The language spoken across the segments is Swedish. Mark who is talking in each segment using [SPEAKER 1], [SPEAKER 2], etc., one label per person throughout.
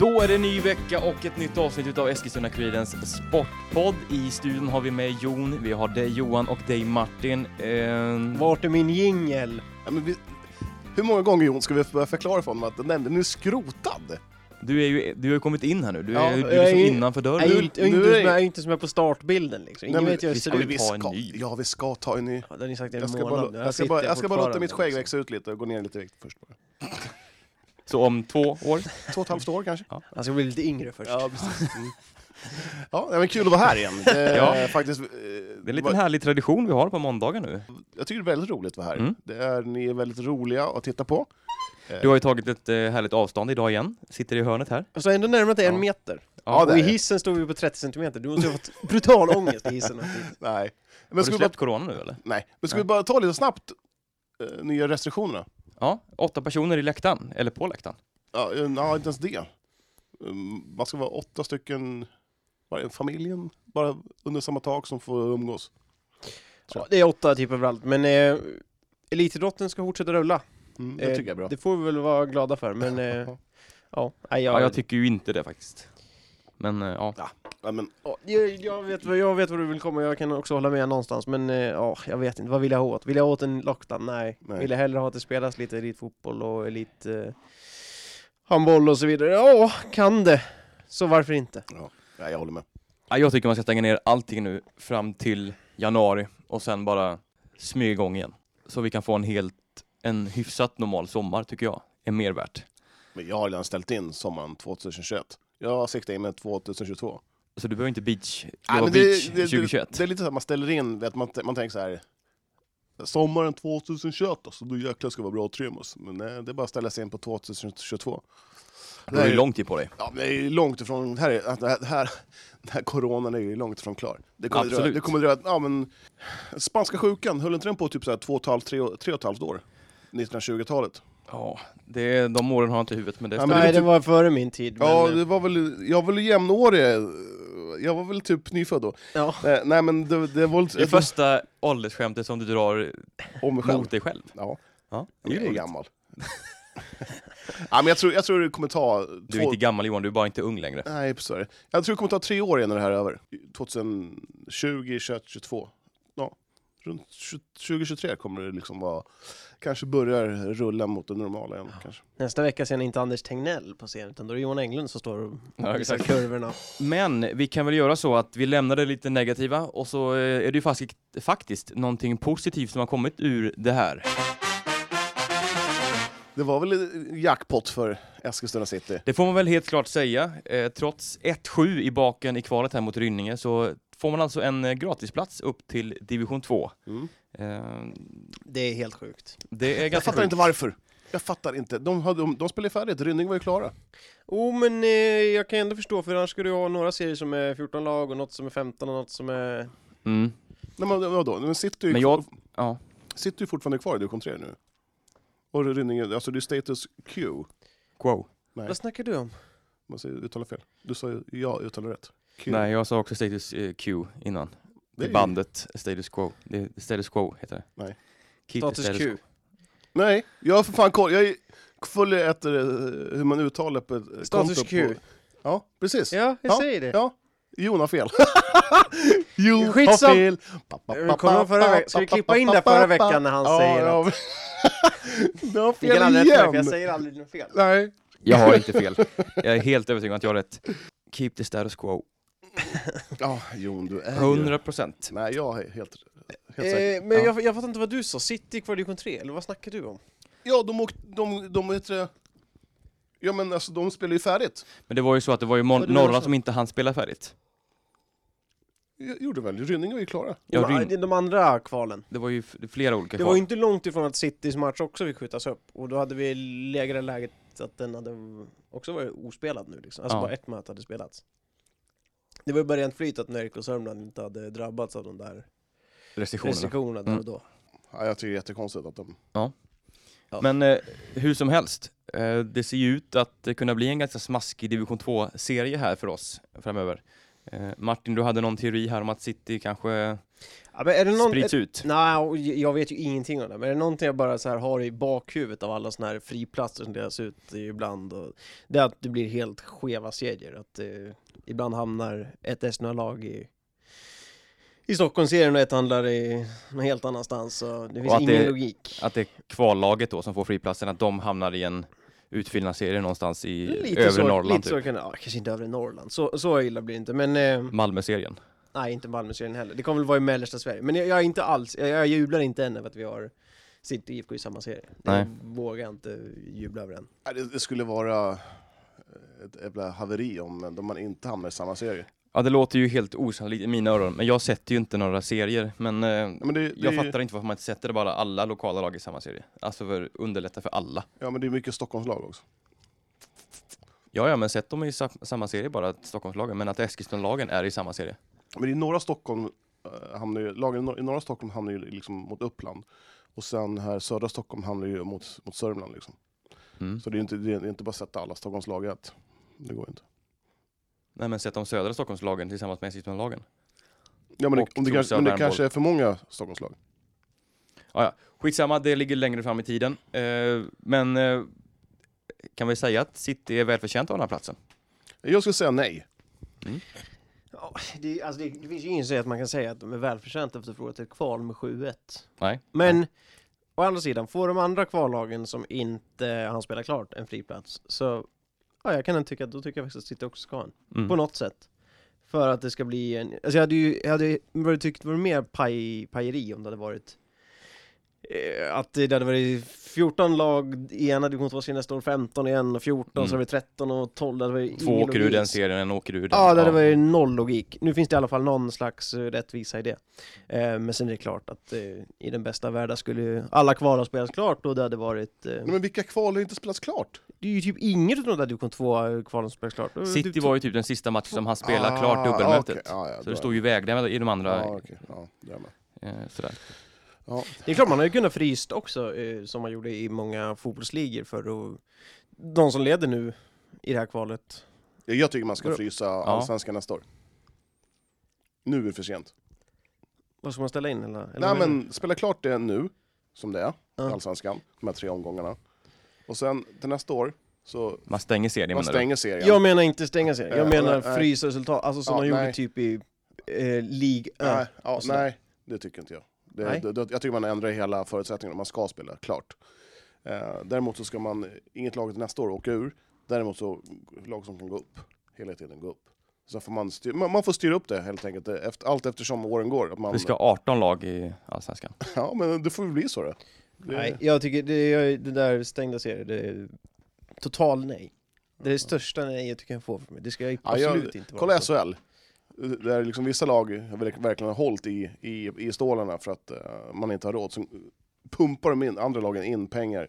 [SPEAKER 1] Då är det ny vecka och ett nytt avsnitt utav Eskilstuna-Kurirens Sportpodd. I studion har vi med Jon, vi har dig Johan och dig Martin. Ehm,
[SPEAKER 2] Vart är min jingel?
[SPEAKER 3] Ja, men vi, hur många gånger Jon ska vi börja förklara för honom att den där, den är skrotad?
[SPEAKER 1] du, är ju, du har ju kommit in här nu, du är,
[SPEAKER 2] Ja,
[SPEAKER 1] ju- du
[SPEAKER 2] jag
[SPEAKER 1] är liksom
[SPEAKER 2] är-
[SPEAKER 1] innanför dörren.
[SPEAKER 2] Jag är inte, jag är
[SPEAKER 3] nu
[SPEAKER 2] inte,
[SPEAKER 3] är-
[SPEAKER 2] som, jag är inte som jag är på startbilden liksom. Ingen
[SPEAKER 3] Nej, men
[SPEAKER 2] vet hur jag
[SPEAKER 1] vi
[SPEAKER 2] ser
[SPEAKER 1] ska
[SPEAKER 2] ut.
[SPEAKER 1] väl
[SPEAKER 3] vi
[SPEAKER 1] ta en
[SPEAKER 3] ska,
[SPEAKER 1] ny?
[SPEAKER 3] Ja, vi ska ta en ny.
[SPEAKER 2] Ja, Det har ni sagt i en
[SPEAKER 3] Jag ska,
[SPEAKER 2] månad
[SPEAKER 3] bara,
[SPEAKER 2] nu.
[SPEAKER 3] jag ska,
[SPEAKER 2] sitter
[SPEAKER 3] bara, jag ska bara låta
[SPEAKER 2] fortfarande,
[SPEAKER 3] mitt skägg
[SPEAKER 2] liksom.
[SPEAKER 3] växa ut lite och gå ner lite i vikt först. Bara.
[SPEAKER 1] Så om två år.
[SPEAKER 3] Två och ett halvt år kanske?
[SPEAKER 2] Han ska bli lite yngre först.
[SPEAKER 3] Ja, precis. Mm. Ja, nej, men kul att vara här igen. Det,
[SPEAKER 1] Ja.
[SPEAKER 3] ja. faktiskt, eh,
[SPEAKER 1] Det är en
[SPEAKER 3] var-
[SPEAKER 1] liten härlig tradition vi har på måndagar nu.
[SPEAKER 3] Jag tycker det är väldigt roligt att vara här.
[SPEAKER 1] Mm.
[SPEAKER 3] Det är, ni är väldigt roliga att titta på.
[SPEAKER 1] Du har ju tagit ett eh, härligt avstånd idag igen, sitter i hörnet här.
[SPEAKER 2] Och så ändå närmare dig
[SPEAKER 1] Ja.
[SPEAKER 2] en meter.
[SPEAKER 3] Ja, det
[SPEAKER 2] och i
[SPEAKER 3] är det.
[SPEAKER 2] hissen stod vi på 30 centimeter. Du måste ha fått brutal ångest i hissen.
[SPEAKER 3] Nej.
[SPEAKER 1] Har
[SPEAKER 3] Men
[SPEAKER 1] du
[SPEAKER 3] ska, vi bara,
[SPEAKER 1] släppt corona nu eller?
[SPEAKER 3] nej. Men ska
[SPEAKER 1] Nej.
[SPEAKER 3] vi bara ta lite snabbt eh, nya restriktionerna?
[SPEAKER 1] Ja, åtta personer i läktaren, eller på läktaren.
[SPEAKER 3] Ja, eh, nej, inte ens det. Mm, Man ska vara åtta stycken, bara i familjen, bara under samma tak som får umgås.
[SPEAKER 2] Ja, det är åtta typ överallt, men eh, elitidrotten ska fortsätta rulla.
[SPEAKER 3] Mm,
[SPEAKER 2] Eh,
[SPEAKER 3] det tycker jag är bra.
[SPEAKER 2] Det får vi väl vara glada för, men eh, ja. Nej,
[SPEAKER 1] Ja, jag tycker ju inte det faktiskt. Men eh, ja,
[SPEAKER 3] Ja, men,
[SPEAKER 2] Ja, jag, jag, vet, vad- jag vet vad du vill komma, jag kan också hålla med någonstans men eh, ja, jag vet inte, vad vill jag åt? Vill jag åt en lockdown? Nej.
[SPEAKER 3] Nej.
[SPEAKER 2] Vill jag hellre ha att det spelas lite elitfotboll och elit eh, handboll och så vidare? Ja, kan det! Så varför inte?
[SPEAKER 3] nej, jag håller med.
[SPEAKER 1] Ja, jag tycker man ska stänga ner allting nu fram till januari och sen bara smyga igång igen. Så vi kan få en helt, en hyfsat normal sommar tycker jag är mer värt.
[SPEAKER 3] Men jag har redan ställt in sommaren 2021. Jag siktar in mig 2022.
[SPEAKER 1] Så du behöver inte beach,
[SPEAKER 3] Nej,
[SPEAKER 1] jobba
[SPEAKER 3] men
[SPEAKER 1] beach
[SPEAKER 3] det,
[SPEAKER 1] 2021.
[SPEAKER 3] Det, det är lite så att man ställer in, vet, man, t- man tänker så här. Sommaren 2021, alltså, då jäklar ska det vara bra trimmus. Men nej, det är bara att ställa sig in på 2022.
[SPEAKER 1] du har ju
[SPEAKER 3] nej.
[SPEAKER 1] lång tid på dig.
[SPEAKER 3] Ja, men det är ju långt ifrån, här, är- att det här, det här, den här coronan är ju långt ifrån klar. Det kommer dröja,
[SPEAKER 1] Absolut.
[SPEAKER 3] det kommer dröja, ja men, spanska sjukan, höll inte den på typ så här två och ett halvt, tre, och- tre och ett halvt år? 1920-talet.
[SPEAKER 1] Ja, det, de åren har jag inte i huvudet men det
[SPEAKER 3] Ja,
[SPEAKER 1] stämmer.
[SPEAKER 3] men-
[SPEAKER 2] Nej,
[SPEAKER 3] det-
[SPEAKER 2] det var före min tid men,
[SPEAKER 3] Ja,
[SPEAKER 2] eh,
[SPEAKER 3] det var väl, jag var väl jämnårig, jag var väl typ nyfödd då.
[SPEAKER 2] ja.
[SPEAKER 3] Nej, nej men det, det var
[SPEAKER 1] typ Det är
[SPEAKER 3] lite,
[SPEAKER 1] första åldersskämtet som du drar
[SPEAKER 3] om mig själv.
[SPEAKER 1] mot dig själv.
[SPEAKER 3] Ja,
[SPEAKER 1] Ja,
[SPEAKER 3] jag är
[SPEAKER 1] roligt.
[SPEAKER 3] gammal. ja, men jag tror, jag tror det kommer ta...
[SPEAKER 1] Du är inte gammal Johan, du är bara inte ung längre.
[SPEAKER 3] Nej, sorry. Jag tror det kommer ta tre år innan det här är över. 2020, 21, 22. Ja. Runt 20 2023 kommer det liksom vara... Kanske börjar rulla mot det normala igen. Kanske.
[SPEAKER 2] Nästa vecka ser ni inte Anders Tegnell på scen utan då är det Johan Englund som står och
[SPEAKER 1] Ja,
[SPEAKER 2] visar
[SPEAKER 1] exakt.
[SPEAKER 2] kurvorna.
[SPEAKER 1] Men vi kan väl göra så att vi lämnar det lite negativa och så eh, är det ju faktiskt, faktiskt någonting positivt som har kommit ur det här.
[SPEAKER 3] Det var väl jackpot för Eskilstuna City.
[SPEAKER 1] Det får man väl helt klart säga. Eh, trots 1-7 i baken i kvalet här mot Rynninge så får man alltså en eh, gratisplats upp till division 2.
[SPEAKER 3] Mm.
[SPEAKER 1] Eh,
[SPEAKER 2] Det är helt sjukt.
[SPEAKER 1] det är
[SPEAKER 3] Jag
[SPEAKER 1] ganska
[SPEAKER 3] fattar
[SPEAKER 1] sjukt.
[SPEAKER 3] inte varför. Jag fattar inte. De, hade- de, de spelade färdigt, Rynning var ju klara.
[SPEAKER 2] Jo men eh, jag kan ändå förstå för annars skulle du ha några serier som är 14 lag och något som är 15 och något som är
[SPEAKER 1] Mm.
[SPEAKER 3] Nej, men, vadå? Men City, är ju-
[SPEAKER 1] Men jag, ja,
[SPEAKER 3] City är ju fortfarande kvar i division 3 nu. Och Rynning, alltså det är status Q.
[SPEAKER 1] quo.
[SPEAKER 3] Nej.
[SPEAKER 2] Vad snackar du om?
[SPEAKER 3] Man säger uttala fel. Du sa ju jag uttalar rätt. Q.
[SPEAKER 1] Nej, jag sa också status eh, Q innan.
[SPEAKER 3] det är ju-
[SPEAKER 1] Bandet status quo. Det är status quo heter det.
[SPEAKER 3] Nej.
[SPEAKER 1] Keep the
[SPEAKER 2] Status Q.
[SPEAKER 3] Nej, jag har för fan koll. Jag följer efter eh, hur man uttalar på ett eh,
[SPEAKER 2] Status
[SPEAKER 3] konto
[SPEAKER 2] Q.
[SPEAKER 3] På... Ja, precis.
[SPEAKER 2] Ja, jag
[SPEAKER 3] Ja,
[SPEAKER 2] säger det.
[SPEAKER 3] Ja. Jon har fel. Jon
[SPEAKER 2] Skitsam-
[SPEAKER 3] har fel. Pa, pa,
[SPEAKER 2] Eh,
[SPEAKER 3] pa,
[SPEAKER 2] kommer
[SPEAKER 3] pa,
[SPEAKER 2] förra
[SPEAKER 3] pa,
[SPEAKER 2] veck- ska vi
[SPEAKER 3] pa, pa,
[SPEAKER 2] klippa in
[SPEAKER 3] pa,
[SPEAKER 2] det
[SPEAKER 3] pa,
[SPEAKER 2] förra
[SPEAKER 3] pa.
[SPEAKER 2] veckan när han
[SPEAKER 3] ja,
[SPEAKER 2] säger
[SPEAKER 3] ja. Du har
[SPEAKER 2] Ni kan
[SPEAKER 3] fel
[SPEAKER 2] aldrig rätta mig för jag
[SPEAKER 3] igen.
[SPEAKER 2] säger aldrig något fel.
[SPEAKER 3] Nej.
[SPEAKER 1] Jag har inte fel. Jag är helt övertygad om att jag har rätt. Keep the status quo.
[SPEAKER 3] Ja, Jon du är ju-
[SPEAKER 1] 100 procent.
[SPEAKER 3] Nej, jag är helt, helt säker.
[SPEAKER 2] Eh, men
[SPEAKER 1] Ja.
[SPEAKER 2] jag, jag fattar inte vad du sa, City kvar i division 3, eller vad snackar du om?
[SPEAKER 3] Ja, de åkte... De, de, vet det. Ja men alltså de spelar ju färdigt.
[SPEAKER 1] Men det var ju så att det var ju
[SPEAKER 3] Vad
[SPEAKER 1] mon-
[SPEAKER 3] du menar
[SPEAKER 1] några
[SPEAKER 3] så?
[SPEAKER 1] som inte hann spela färdigt.
[SPEAKER 3] Gjorde väl? Rynning var ju klara.
[SPEAKER 1] Jag
[SPEAKER 2] de,
[SPEAKER 1] rym-
[SPEAKER 2] de andra kvalen.
[SPEAKER 1] Det var ju f- flera olika
[SPEAKER 2] Det
[SPEAKER 1] kval.
[SPEAKER 2] var ju inte långt ifrån att Citys match också fick skjutas upp, och då hade vi lägre läget att den hade också varit ospelad nu liksom. Alltså
[SPEAKER 1] Ja.
[SPEAKER 2] bara ett möte hade spelats. Det var ju bara rent flyt att Närke och Sörmland inte hade drabbats av de där
[SPEAKER 1] restriktionerna.
[SPEAKER 2] restriktionerna där
[SPEAKER 1] Mm.
[SPEAKER 2] och då.
[SPEAKER 3] Ja, jag tycker det är jättekonstigt att de...
[SPEAKER 1] Men eh, hur som helst, eh, det ser ju ut att det kunna bli en ganska smaskig division 2-serie här för oss framöver. Eh, Martin, du hade någon teori här om att City kanske
[SPEAKER 2] Ja, men är det någon,
[SPEAKER 1] sprids ut.
[SPEAKER 2] Nej, och j- jag vet ju ingenting om det, men är det någonting jag bara så här har i bakhuvudet av alla såna här friplatser som delas ut ibland, och det är att det blir helt skeva serier. Att eh, ibland hamnar ett Eskilstuna-lag i, i Stockholmsserien och ett handlar i någon helt annanstans, så det finns
[SPEAKER 1] att
[SPEAKER 2] ingen
[SPEAKER 1] det-
[SPEAKER 2] logik.
[SPEAKER 1] Att det är kvallaget då som får friplatsen, att de hamnar i en utfyllnadsserie någonstans i
[SPEAKER 2] Lite
[SPEAKER 1] övre
[SPEAKER 2] så,
[SPEAKER 1] Norrland,
[SPEAKER 2] lite så
[SPEAKER 1] typ.
[SPEAKER 2] kan det, ja, kanske inte övre Norrland, så, så illa blir det inte, men eh,
[SPEAKER 1] Malmö-serien.
[SPEAKER 2] Nej, inte Malmö-serien heller. Det kommer väl vara i mellersta Sverige. Men jag, jag är inte alls, jag, jag jublar inte än över att vi har City och IFK i samma serie.
[SPEAKER 1] Nej.
[SPEAKER 2] Det vågar jag inte jubla över än.
[SPEAKER 3] Nej, Det, det skulle vara eh, ett jävla haveri om eh, de man inte hamnar i samma serie.
[SPEAKER 1] Ja, det låter ju helt osannolikt i mina öron, men jag sätter ju inte några serier. Men, eh,
[SPEAKER 3] Ja, men det, det,
[SPEAKER 1] jag
[SPEAKER 3] är ju-
[SPEAKER 1] fattar inte varför man inte sätter bara alla lokala lag i samma serie. Alltså för underlätta för alla.
[SPEAKER 3] Ja, men det är mycket Stockholmslag också.
[SPEAKER 1] Ja, ja, men sätt dem i sa- samma serie bara, att Stockholmslagen, men att Eskilstuna-lagen är i samma serie.
[SPEAKER 3] Men i norra Stockholm eh, hamnar ju, lagen i nor- i norra Stockholm hamnar ju liksom mot Uppland. Och sen här södra Stockholm hamnar ju mot, mot Sörmland. Liksom.
[SPEAKER 1] Mm.
[SPEAKER 3] Så det är ju inte, det är inte bara att sätta alla Stockholmslag i ett. Det går ju inte.
[SPEAKER 1] Nej, men sätt de södra Stockholmslagen tillsammans med Eskilstuna-lagen.
[SPEAKER 3] Ja, men, det,
[SPEAKER 1] Och
[SPEAKER 3] om det, kanske,
[SPEAKER 1] Trosa,
[SPEAKER 3] men det
[SPEAKER 1] Värmboll.
[SPEAKER 3] kanske är för många Stockholmslag.
[SPEAKER 1] Skitsamma, det ligger längre fram i tiden. Eh, men eh, kan vi säga att City är välförtjänt av den här platsen?
[SPEAKER 3] Jag skulle säga nej.
[SPEAKER 2] Ja, det, alltså det, det finns ju ingen som säger att man kan säga att de är välförtjänta efter förlorat ett kval med 7-1.
[SPEAKER 1] Nej.
[SPEAKER 2] Men å andra sidan, får de andra kvallagen som inte han spelar klart en friplats så ja, jag kan tycka att då tycker jag faktiskt att City också ska ha en.
[SPEAKER 1] Mm.
[SPEAKER 2] På något sätt. För att det ska bli en, alltså jag hade ju, jag hade varit tyckt det var mer paj, pajeri om det hade varit eh, att det hade varit 14 lag i ena divisionen, två sen nästa år 15 igen och 14,
[SPEAKER 1] Mm.
[SPEAKER 2] så hade det varit 13 och 12, det hade varit
[SPEAKER 1] Två
[SPEAKER 2] ingen
[SPEAKER 1] åker ur
[SPEAKER 2] logik.
[SPEAKER 1] den serien, en åker ur den.
[SPEAKER 2] Ja, det hade varit noll logik. Nu finns det i alla fall någon slags eh, rättvisa i det. Eh, men sen är det klart att eh, i den bästa världen skulle ju alla kval ha spelats klart och det hade varit... Eh,
[SPEAKER 3] Nej, men vilka kval har inte spelats klart?
[SPEAKER 2] det är ju typ inget av de där division 2-kvalen som spelats klart. Eh,
[SPEAKER 1] City
[SPEAKER 2] typ
[SPEAKER 1] var ju typ den sista matchen som han
[SPEAKER 2] Ah,
[SPEAKER 1] spelade klart dubbelmötet.
[SPEAKER 3] Ah, okej. Ja, ja,
[SPEAKER 1] Så det står ju väglämnat i de andra.
[SPEAKER 3] Ja, okej. ja, där med.
[SPEAKER 1] Eh, sådär.
[SPEAKER 3] Ja.
[SPEAKER 2] Det är klart, man har ju kunnat fryst också, eh, som man gjorde i många fotbollsligor för att de som leder nu i det här kvalet.
[SPEAKER 3] Ja, Jag tycker man ska
[SPEAKER 2] Vadå?
[SPEAKER 3] frysa Allsvenskan nästa år. Nu är det för sent.
[SPEAKER 2] Vad ska man ställa in? Eller, eller vad
[SPEAKER 3] Nej
[SPEAKER 2] menar du?
[SPEAKER 3] men Alltså, spela klart det nu, som det är,
[SPEAKER 2] Ja.
[SPEAKER 3] Allsvenskan, de här tre omgångarna. Och sen till nästa år så
[SPEAKER 1] Man stänger serien
[SPEAKER 3] man
[SPEAKER 1] menar du?
[SPEAKER 3] stänger serien.
[SPEAKER 2] Jag menar inte stänga serien, jag
[SPEAKER 3] Eh,
[SPEAKER 2] menar
[SPEAKER 3] nej.
[SPEAKER 2] frysa resultat, alltså som
[SPEAKER 3] Ja,
[SPEAKER 2] de gjorde
[SPEAKER 3] nej.
[SPEAKER 2] typ i eh, League Ö.
[SPEAKER 3] nej, ja,
[SPEAKER 2] och sådär.
[SPEAKER 3] nej, det tycker inte jag. Det,
[SPEAKER 2] Nej.
[SPEAKER 3] Det, det, jag tycker man ändrar hela förutsättningarna, man ska spela klart. Eh, däremot så ska man, inget lag till nästa år åka ur, däremot så lag som kan gå upp, hela tiden gå upp. Så får man, styr, man, man får styra upp det helt enkelt, eh, efter, allt eftersom åren går. Att man,
[SPEAKER 1] Vi ska ha 18 lag i Allsvenskan.
[SPEAKER 3] Ja men det får väl bli så då. Det,
[SPEAKER 2] Nej, jag tycker det, jag, det där stängda serier, det är total nej. Det är det största nejet du kan få från mig, det ska jag
[SPEAKER 3] Ja, jag-
[SPEAKER 2] absolut inte vara
[SPEAKER 3] Kolla alltså,
[SPEAKER 2] så.
[SPEAKER 3] SHL. Där liksom vissa lag har verk- verkligen har hållit i, i, i stålarna för att eh, man inte har råd. Så pumpar de in, andra lagen in pengar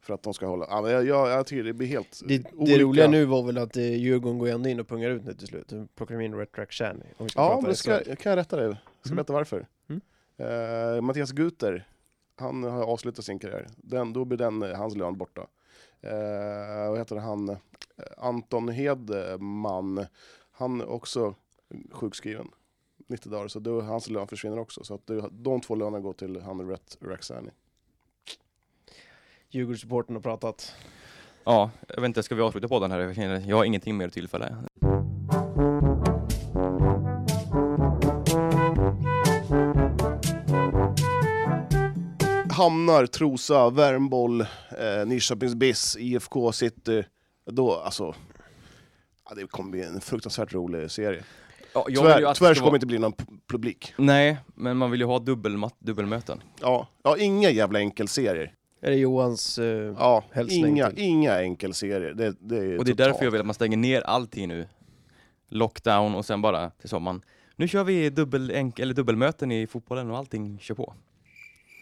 [SPEAKER 3] för att de ska hålla. Ja, men jag, jag, jag tycker det blir helt
[SPEAKER 2] Det, det
[SPEAKER 3] olika.
[SPEAKER 2] roliga nu var väl att eh, Djurgården går ändå in och pungar ut nu till slut, De plockar de in Red Track Chan, om vi ska
[SPEAKER 3] Ja,
[SPEAKER 2] prata
[SPEAKER 3] men det ska,
[SPEAKER 2] SHL.
[SPEAKER 3] jag kan jag rätta dig. Jag ska
[SPEAKER 2] Mm.
[SPEAKER 3] berätta varför.
[SPEAKER 2] Mm.
[SPEAKER 3] Eh, Mattias Guter, han har avslutat sin karriär. Den, då blir den, eh, hans lön borta. Eh, vad heter han? Eh, Anton Hedman. Han är också sjukskriven. 90 dagar, så då, hans lön försvinner också. Så att det, de två lönerna går till han Rett Rakhshani.
[SPEAKER 2] Djurgårdssupporten har pratat.
[SPEAKER 1] Ja, jag vet inte, ska vi avsluta podden här? Jag känner- Jag har ingenting mer att tillfälla.
[SPEAKER 3] Hamnar, Trosa, Värmboll, eh, Nyköpings BIS, IFK City. Då, alltså, ja, det kommer bli en fruktansvärt rolig serie.
[SPEAKER 1] Ja, jag vill ju
[SPEAKER 3] Tyvärr,
[SPEAKER 1] att
[SPEAKER 3] tyvärr
[SPEAKER 1] det ska
[SPEAKER 3] så kommer det
[SPEAKER 1] vara-
[SPEAKER 3] inte bli någon p- publik.
[SPEAKER 1] Nej, men man vill ju ha dubbelmat- dubbelmöten.
[SPEAKER 3] Ja, ja inga jävla enkelserier.
[SPEAKER 2] Är det Johans... eh,
[SPEAKER 3] Ja,
[SPEAKER 2] Hälsning
[SPEAKER 3] inga,
[SPEAKER 2] till.
[SPEAKER 3] inga enkelserier. Det, det är
[SPEAKER 1] Och det är
[SPEAKER 3] totalt-
[SPEAKER 1] därför jag vill att man stänger ner allting nu. Lockdown och sen bara till sommaren. Nu kör vi dubbel enk- eller dubbelmöten i fotbollen och allting kör på.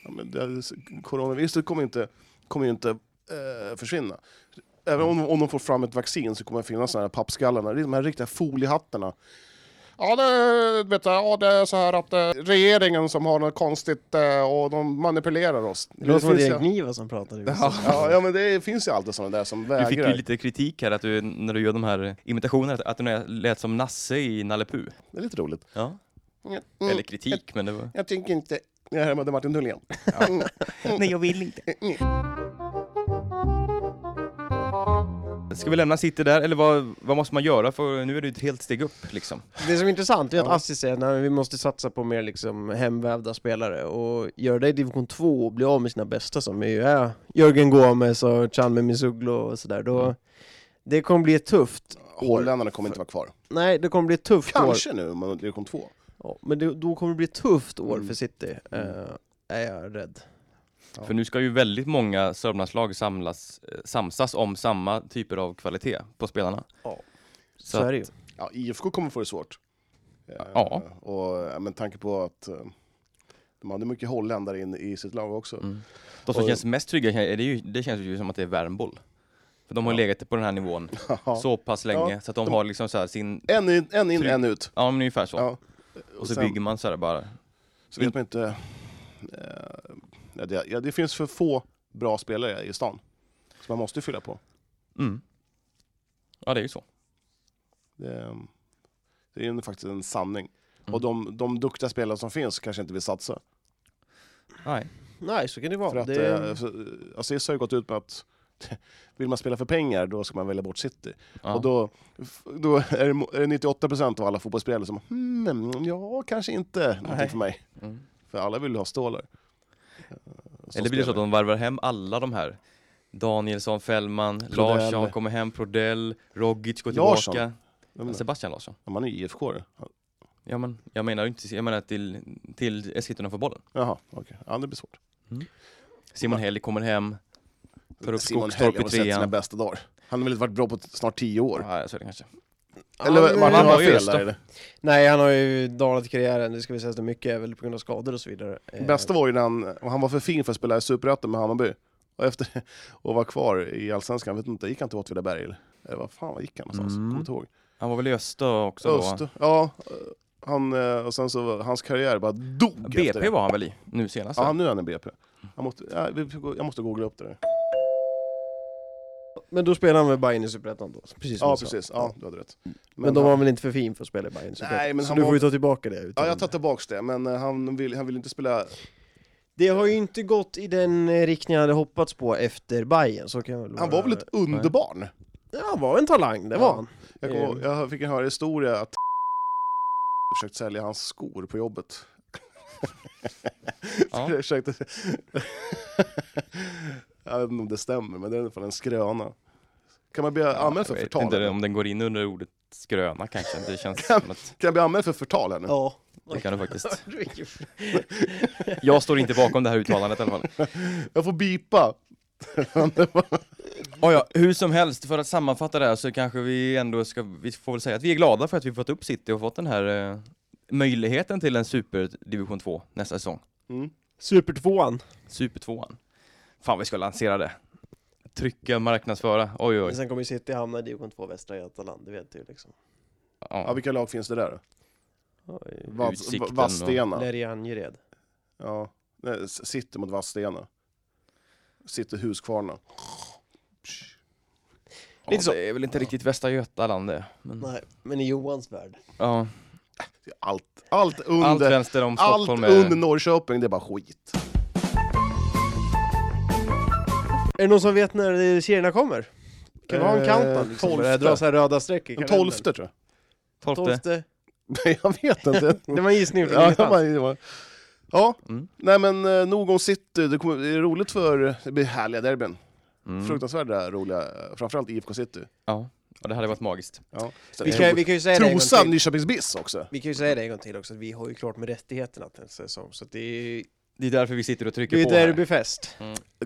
[SPEAKER 3] Ja, men det, coronaviruset kommer inte, kommer ju inte eh, försvinna. Även om, om de får fram ett vaccin så kommer det finnas såna här pappskallarna, de här riktiga foliehattarna. Ja, det, vet du, ja, det är så här att eh, regeringen som har något konstigt eh, och de manipulerar oss.
[SPEAKER 2] Det låter som att det är
[SPEAKER 3] finns ju-
[SPEAKER 2] Niva som pratar i
[SPEAKER 3] Ja, ja, men det finns ju alltid sådana där som
[SPEAKER 1] Du fick ju
[SPEAKER 3] vägrar.
[SPEAKER 1] lite kritik här att du, när du gör de här imitationerna, att- att du nä- lät som Nasse i Nalle Puh.
[SPEAKER 3] Det är lite roligt.
[SPEAKER 1] Ja.
[SPEAKER 3] Mm.
[SPEAKER 1] Eller kritik, men det var...
[SPEAKER 3] Jag tycker inte... Jag härmade Martin Dahlén. Mm.
[SPEAKER 1] Nej, jag vill inte. Ska vi lämna City där, eller vad, vad måste man göra? För nu är det ju ett helt steg upp liksom.
[SPEAKER 2] Det som är intressant är att
[SPEAKER 3] Ja.
[SPEAKER 2] Assi säger att "Nej, vi måste satsa på mer liksom hemvävda spelare och göra det i division 2 och bli av med sina bästa som ju är Jörgen Gomes och Chalmers Mizuglo och sådär. Då,
[SPEAKER 1] Mm.
[SPEAKER 2] Det kommer bli ett tufft år.
[SPEAKER 3] Holländarna kommer inte vara kvar.
[SPEAKER 2] Nej, det kommer bli ett tufft år.
[SPEAKER 3] Kanske nu, men division 2.
[SPEAKER 2] Ja, men det, då kommer det bli ett tufft år
[SPEAKER 3] Mm.
[SPEAKER 2] för City, eh, är jag rädd.
[SPEAKER 3] Ja.
[SPEAKER 1] För nu ska ju väldigt många Sörmlandslag samlas, eh, samsas om samma typer av kvalitet på spelarna.
[SPEAKER 2] Ja.
[SPEAKER 1] Så,
[SPEAKER 2] Så, är det ju.
[SPEAKER 3] Ja, IFK kommer få det svårt. Eh,
[SPEAKER 1] Ja.
[SPEAKER 3] Och eh, med tanke på att eh, de hade mycket holländare in i sitt lag också.
[SPEAKER 1] Mm. De som
[SPEAKER 3] Och-
[SPEAKER 1] känns mest trygga, är det, ju, det känns ju som att det är Värmboll. För de har
[SPEAKER 3] Ja.
[SPEAKER 1] legat på den här nivån så pass länge, så att de,
[SPEAKER 3] de-
[SPEAKER 1] har liksom så här sin...
[SPEAKER 3] En in, en, in,
[SPEAKER 1] Trygg.
[SPEAKER 3] en ut.
[SPEAKER 1] Ja, men ungefär så.
[SPEAKER 3] Ja.
[SPEAKER 1] och så
[SPEAKER 3] sen-
[SPEAKER 1] bygger man så här bara.
[SPEAKER 3] Så vet man inte... eh, ja, det, ja, det finns för få bra spelare i stan. Så man måste fylla på.
[SPEAKER 1] Mm. Ja, det är ju så.
[SPEAKER 3] Det, eh, det är ju faktiskt en sanning.
[SPEAKER 1] Mm.
[SPEAKER 3] Och de, de duktiga spelarna som finns kanske inte vill satsa.
[SPEAKER 1] Nej.
[SPEAKER 2] Nej, så kan det
[SPEAKER 3] För
[SPEAKER 2] vara.
[SPEAKER 3] att
[SPEAKER 2] Det,
[SPEAKER 3] eh, för, eh, Aziz har ju gått ut med att vill man spela för pengar, då ska man välja bort City.
[SPEAKER 1] Ja.
[SPEAKER 3] Och då, f- då är det mo- är det 98% av alla fotbollsspelare som hmm, ja, kanske inte
[SPEAKER 1] Nej.
[SPEAKER 3] någonting för mig.
[SPEAKER 1] Mm.
[SPEAKER 3] För alla vill ju ha stålar. eh, som
[SPEAKER 1] Eller blir det så att
[SPEAKER 3] spelare.
[SPEAKER 1] de varvar hem alla de här? Danielsson, Fällman, Larsson kommer hem, Prodell, Rogic går tillbaka.
[SPEAKER 3] Larsson? Jag menar,
[SPEAKER 1] Sebastian Larsson.
[SPEAKER 3] Man är ju IFK -are.
[SPEAKER 1] Ja, men, jag menar ju inte, jag menar till, till Eskilstuna för bollen.
[SPEAKER 3] Jaha, okej. Ja, det blir svårt.
[SPEAKER 1] Simon Helg kommer hem, tar upp
[SPEAKER 3] Simon
[SPEAKER 1] Skogstorp
[SPEAKER 3] Helge
[SPEAKER 1] i
[SPEAKER 3] har sett sina
[SPEAKER 1] trean.
[SPEAKER 3] bästa dagar. Han har väl varit bra på t- snart 10 år.
[SPEAKER 1] Ja, så är det kanske.
[SPEAKER 3] Eller
[SPEAKER 2] Ja,
[SPEAKER 3] Martin
[SPEAKER 1] han
[SPEAKER 3] har
[SPEAKER 1] var ju
[SPEAKER 3] fel
[SPEAKER 1] just
[SPEAKER 3] där
[SPEAKER 1] då.
[SPEAKER 3] eller?
[SPEAKER 2] Nej, han har ju dalat karriären, det ska vi säga så mycket, är väl på grund av skador och så vidare. Eh,
[SPEAKER 3] Bästa var ju när han, han var för fin för att spela i Superettan med Hammarby. Och efter och var kvar i Allsvenskan, vet inte, gick han till Åtvidaberg eller? Eller vad fan var gick han någonstans?
[SPEAKER 1] Mm.
[SPEAKER 3] Kommer inte ihåg.
[SPEAKER 1] Han var väl i Östa också då?
[SPEAKER 3] Öst, ja. eh, Han, eh, och sen så, var- hans karriär bara dog efter
[SPEAKER 1] BP
[SPEAKER 3] det.
[SPEAKER 1] var han väl i nu senast?
[SPEAKER 3] Ja,
[SPEAKER 1] va?
[SPEAKER 3] nu är han i BP. Jag måste, ja, vi får gå- jag måste googla upp det där.
[SPEAKER 2] Men då spelar han väl Bayern i Superettan då? Precis som
[SPEAKER 3] Ja,
[SPEAKER 2] jag sa.
[SPEAKER 3] precis. Ja, du hade rätt.
[SPEAKER 2] Men, de var
[SPEAKER 3] han,
[SPEAKER 2] väl inte för fin för att spela i Bayern i Superettan?
[SPEAKER 3] men
[SPEAKER 2] Så
[SPEAKER 3] han
[SPEAKER 2] du
[SPEAKER 3] var-
[SPEAKER 2] får ju ta tillbaka det. Utan...
[SPEAKER 3] ja, jag tar tillbaks det, men eh, han vill, han vill inte spela...
[SPEAKER 2] Det har ju inte gått i den eh, riktning jag hade hoppats på efter Bayern så kan jag väl
[SPEAKER 3] Han var väl ett underbarn?
[SPEAKER 2] Ja, han var en talang, det var
[SPEAKER 3] Ja.
[SPEAKER 2] han.
[SPEAKER 3] Jag,
[SPEAKER 1] Ehm.
[SPEAKER 2] Eh.
[SPEAKER 3] kom, jag fick en höra historia att försökt sälja hans skor på jobbet.
[SPEAKER 1] Ja.
[SPEAKER 3] försökte... jag vet inte om det stämmer, men det är i alla fall en skröna. Kan man bli anmäld för
[SPEAKER 1] jag vet
[SPEAKER 3] förtal?
[SPEAKER 1] inte
[SPEAKER 3] eller?
[SPEAKER 1] om den går in under ordet skröna kanske. Det känns
[SPEAKER 3] Kan-
[SPEAKER 1] som att
[SPEAKER 3] Kan jag bli anmäld för förtal här nu?
[SPEAKER 2] Ja.
[SPEAKER 1] det kan du faktiskt.
[SPEAKER 2] Du är ju-
[SPEAKER 1] Jag står inte bakom det här uttalandet i alla fall.
[SPEAKER 3] Jag får bipa.
[SPEAKER 1] Oh ja, hur som helst, för att sammanfatta det här så kanske vi ändå ska, vi får väl säga att vi är glada för att vi fått upp City och fått den här eh, möjligheten till en superdivision 2 nästa säsong.
[SPEAKER 3] Mm.
[SPEAKER 2] Supertvåan.
[SPEAKER 1] Supertvåan. Fan vi ska lansera det. Trycka, marknadsföra, oj
[SPEAKER 2] Men
[SPEAKER 1] oj.
[SPEAKER 2] sen kommer ju City hamna i division 2 Västra Götaland, det vet du ju liksom.
[SPEAKER 3] Ja,
[SPEAKER 1] Ja.
[SPEAKER 3] vilka lag finns det där då?
[SPEAKER 2] Oj.
[SPEAKER 3] Vass,
[SPEAKER 1] Utsikten och-
[SPEAKER 3] Vadstena.
[SPEAKER 2] Lerge Angered.
[SPEAKER 3] Ja. Nej, S- City mot Vadstena. City Huskvarna.
[SPEAKER 1] Ja,
[SPEAKER 2] lite så.
[SPEAKER 1] Det är väl inte riktigt Västra Götaland det. Men,
[SPEAKER 3] Mm.
[SPEAKER 2] Nej, men i Johans värld.
[SPEAKER 1] ja.
[SPEAKER 3] Allt, allt under,
[SPEAKER 1] Allt
[SPEAKER 3] allt
[SPEAKER 1] vänster om Stockholm
[SPEAKER 3] under
[SPEAKER 1] är...
[SPEAKER 3] Norrköping, det är bara skit.
[SPEAKER 2] Är det någon som vet när eh, serierna kommer? Kan vi ha en
[SPEAKER 3] Eh,
[SPEAKER 2] countdown? Liksom? Börja dra
[SPEAKER 3] tolfte.
[SPEAKER 2] så här röda streck i
[SPEAKER 3] Den
[SPEAKER 2] kalendern.
[SPEAKER 3] tolfte tror jag.
[SPEAKER 1] 12.
[SPEAKER 2] Tolfte.
[SPEAKER 3] Nej, jag vet inte.
[SPEAKER 2] Det var en gissning från
[SPEAKER 3] ja,
[SPEAKER 2] ingenstans.
[SPEAKER 3] man- man- ja.
[SPEAKER 1] Mm.
[SPEAKER 3] nej men eh, nog om City. Det, kommer, det är roligt för... Det blir härliga derbyn.
[SPEAKER 1] Mm.
[SPEAKER 3] Fruktansvärda roliga. eh, Framförallt IFK City.
[SPEAKER 1] Ja. ja, det hade varit magiskt.
[SPEAKER 3] Ja. Sen,
[SPEAKER 2] Vi kan, vi kan ju säga det en gång
[SPEAKER 3] Trosa
[SPEAKER 2] till.
[SPEAKER 3] Nyköpings BIS också.
[SPEAKER 2] Vi kan ju säga det en gång till också, att vi har ju klart med rättigheterna till en säsong, så att det är
[SPEAKER 1] Det är därför vi sitter och
[SPEAKER 2] det
[SPEAKER 1] trycker
[SPEAKER 2] är
[SPEAKER 1] på här. Mm.
[SPEAKER 2] derbyfest.